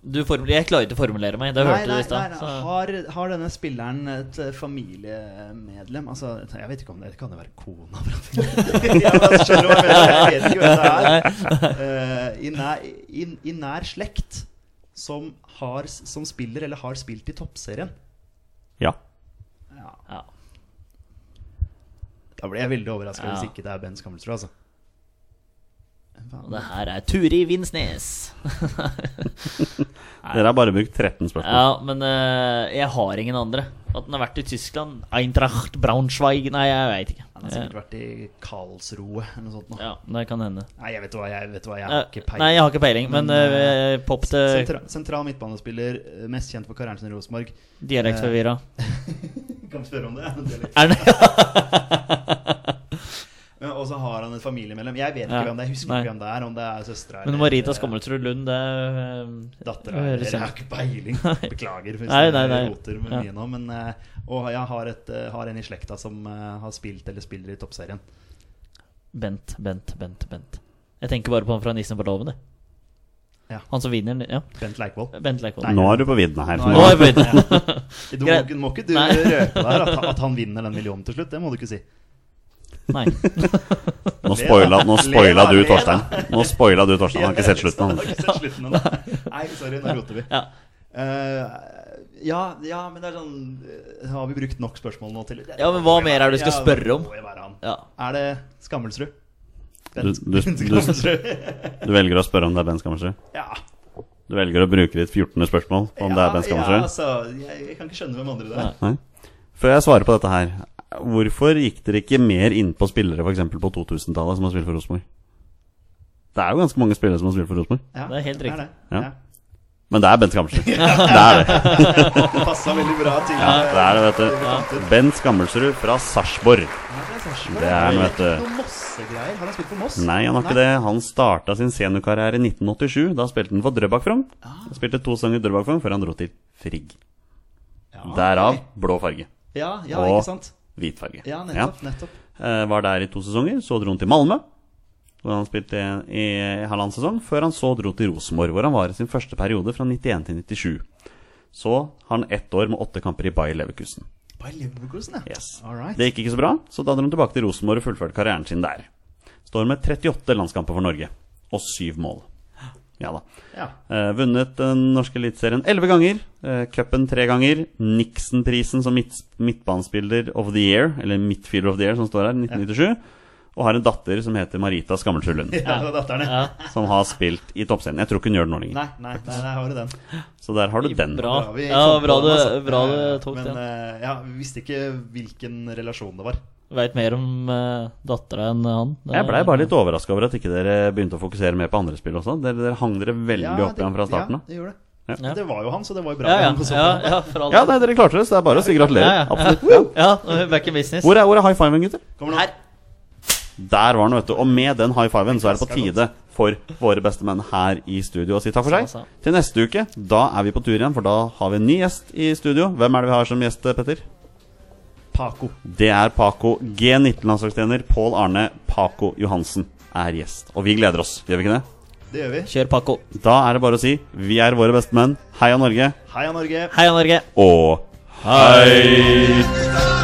Speaker 4: Du formul jeg klarer ikke å formulere meg. Det
Speaker 3: Nei,
Speaker 4: hørte du
Speaker 3: nei,
Speaker 4: i stad.
Speaker 3: nei, nei.
Speaker 4: så-
Speaker 3: Har, har denne spilleren et eh, familiemedlem? Altså, jeg vet ikke om det Kan det være kona? [LAUGHS] ja, men skjønner du hva jeg mener? Jeg vet ikke hvem det er. Eh, i, nær, i, I nær slekt som, har, som spiller eller har spilt i toppserien.
Speaker 2: Ja.
Speaker 3: Ja,
Speaker 4: Ja.
Speaker 3: da blir jeg veldig overraska
Speaker 4: Ja.
Speaker 3: hvis ikke det er Ben Skammelsrud, altså. Hvem
Speaker 4: Og
Speaker 3: faen?
Speaker 4: det her er Turi Vinsnes.
Speaker 2: Dere har bare brukt 13 spørsmål.
Speaker 4: Ja, men eh, jeg har ingen andre. At den har vært i Tyskland. Eintracht Braunschweig Nei, jeg veit ikke.
Speaker 3: Han har sikkert vært i Karlsroe eller noe sånt. nå.
Speaker 4: Ja, det kan hende.
Speaker 3: Nei, jeg vet hva, jeg vet hva, jeg har ikke
Speaker 4: Eh, Nei, jeg har ikke peiling, men,
Speaker 3: Men, eh,
Speaker 4: eh, pop til
Speaker 3: Sentra, sentral midtbanespiller, eh, mest kjent for karrieren sin i Rosenborg. Eh.
Speaker 4: dialektforvirra.
Speaker 3: Kan spørre om det. [LAUGHS] det
Speaker 4: Er det
Speaker 3: og så har han et familiemedlem. Jeg vet ikke
Speaker 4: Ja,
Speaker 3: hvem det er. Jeg husker
Speaker 4: nei.
Speaker 3: ikke hvem det er. Om det er søstera eh,
Speaker 4: Men Marita Skammeltrud Lund, det er eh,
Speaker 3: Dattera
Speaker 4: høres
Speaker 3: eller Jeg har
Speaker 4: ut.
Speaker 3: ikke
Speaker 4: [LAUGHS]
Speaker 3: peiling. Beklager hvis
Speaker 4: Nei,
Speaker 3: jeg
Speaker 4: nei, nei.
Speaker 3: roter med
Speaker 4: Ja.
Speaker 3: mye nå. Men, eh, og jeg har, et, eh, har en i slekta som eh, har spilt eller spiller i toppserien.
Speaker 4: Bent, Bent, Bent, Bent. Jeg tenker bare på han fra Nissen på låven, jeg.
Speaker 3: Ja.
Speaker 4: Han som vinner, ja.
Speaker 3: Bent Leikvoll.
Speaker 4: Bent Leikvoll.
Speaker 3: Nei.
Speaker 2: Nå er du på vidden her.
Speaker 4: Nå er vi
Speaker 3: Du må,
Speaker 4: Greit.
Speaker 3: ikke- må ikke du
Speaker 4: Nei.
Speaker 3: røpe der at, at han vinner den millionen til slutt. Det må du ikke si.
Speaker 4: Nei.
Speaker 2: Nå spoila, nå spoila du, Torstein. Nå spoila du, Torstein. Han har ikke sett slutten.
Speaker 3: Han har
Speaker 2: Han.
Speaker 3: ikke sett slutten ennå. Nei, sorry, nå roter vi.
Speaker 4: Ja.
Speaker 3: Eh, ja, ja, men det er sånn eh, Har vi brukt nok spørsmål nå til
Speaker 4: Ja, men hva mer er det du skal
Speaker 3: Ja,
Speaker 4: spørre om?
Speaker 3: må jo være han.
Speaker 4: ja.
Speaker 3: Er det Skammelsrud?
Speaker 2: Du, du,
Speaker 3: [LAUGHS]
Speaker 2: du,
Speaker 3: Skammelsrud.
Speaker 2: du velger å spørre om det er Ben Skammersrud?
Speaker 3: ja.
Speaker 2: Du velger å bruke ditt 14. spørsmål på om det er Ben
Speaker 3: Ja,
Speaker 2: Skammersrud?
Speaker 3: altså, jeg, jeg kan ikke skjønne hvem andre det er.
Speaker 2: Nei? Før jeg svarer på dette her, hvorfor gikk dere ikke mer inn på spillere for eksempel på 2000-tallet som har spilt for Rosenborg? Det er jo ganske mange spillere som har spilt for Rosenborg.
Speaker 3: Ja,
Speaker 4: Det er helt riktig.
Speaker 3: det.
Speaker 2: Ja. Men det er Ben Skammersrud. Det er det.
Speaker 3: Det passa veldig bra til eh,
Speaker 2: Det er det, vet du. Ben Skammersrud fra Sarpsborg. Det er han, vet du.
Speaker 3: Noen Mossegreier. Har han spilt for Moss?
Speaker 2: Nei, han har ikke det. Han starta sin seniorkarriere i 1987. Da spilte han for Drøbak Frogn.
Speaker 3: Ah.
Speaker 2: Han Spilte to sesonger i Drøbak Frogn før han dro til Frigg. Derav blå farge.
Speaker 3: Ja, ja
Speaker 2: Og-
Speaker 3: ikke sant?
Speaker 2: Hvit farge.
Speaker 3: Ja, nettopp. nettopp.
Speaker 2: Eh, Var der i to sesonger. Så dro han til Malmö, hvor han spilte en- i halvannen sesong, før han så dro til Rosenborg, hvor han var i sin første periode fra 91 til 97. Så har han ett år med åtte kamper i Bayer Leverkusen.
Speaker 3: Bare Leverkusen, ja.
Speaker 2: Yes.
Speaker 3: All right.
Speaker 2: Det gikk ikke så bra, så da dro han tilbake til Rosenborg og fullførte karrieren sin der. Står med 38 landskamper for Norge, og syv mål. Ja da.
Speaker 3: Ja.
Speaker 2: Eh, vunnet den norske eliteserien elleve ganger. Eh, Cupen tre ganger. Nixon-prisen som midt, midtbanespiller of the year, eller midfielder of the year, som står her, 1997. Og har en datter som heter Marita Skammelsrud Lund,
Speaker 4: [LAUGHS]
Speaker 3: Ja, det var datteren, ja.
Speaker 4: Ja.
Speaker 2: som har spilt i toppserien. Jeg tror ikke hun gjør det nå lenger.
Speaker 3: Nei, nei, nei, der har du den.
Speaker 2: Så der har du den.
Speaker 4: Bra.
Speaker 3: Da har vi
Speaker 4: Ja,
Speaker 3: fått
Speaker 4: bra
Speaker 3: på
Speaker 4: du,
Speaker 3: den, altså.
Speaker 4: bra du
Speaker 3: Eh,
Speaker 4: tok
Speaker 3: Men
Speaker 4: den.
Speaker 3: eh, ja, vi visste ikke hvilken relasjon det var.
Speaker 4: Veit mer om uh, dattera enn han. Det
Speaker 2: Jeg
Speaker 4: er-
Speaker 2: blei bare litt overraska over at ikke dere begynte å fokusere mer på andre spill også. Dere, dere hang dere veldig
Speaker 3: Ja,
Speaker 2: opp i ham fra starten
Speaker 3: Ja, det gjorde det.
Speaker 4: Ja.
Speaker 3: Det var jo han, så det var jo bra.
Speaker 4: Ja, ja.
Speaker 3: han på
Speaker 4: ja,
Speaker 3: sofaen.
Speaker 4: ja, for all
Speaker 2: Ja,
Speaker 4: del.
Speaker 2: nei, dere klarte det, så det er bare å si gratulerer.
Speaker 4: Ja, ja.
Speaker 2: Absolutt.
Speaker 4: Ja,
Speaker 2: Ja.
Speaker 4: ja back in business.
Speaker 2: Hvor er, hvor er high fiven, gutter?
Speaker 3: Kommer nå.
Speaker 4: Her.
Speaker 2: Der var den, vet du. Og med den high fiven så er det på tide for våre bestemenn her i studio å si takk for
Speaker 4: Så, så.
Speaker 2: seg. Til neste uke, da er vi på tur igjen, for da har vi en ny gjest i studio. Hvem er det vi har som gjest, Petter?
Speaker 3: Paco.
Speaker 2: Det er Paco G19-landslagstrener Pål Arne Paco Johansen er gjest. Og vi gleder oss, gjør vi ikke det?
Speaker 3: Det gjør vi.
Speaker 4: Kjør Paco.
Speaker 2: Da er det bare å si vi er våre bestemenn. Heia Norge.
Speaker 3: Heia Norge.
Speaker 4: Heia Norge.
Speaker 2: Og hei!
Speaker 6: Gutta,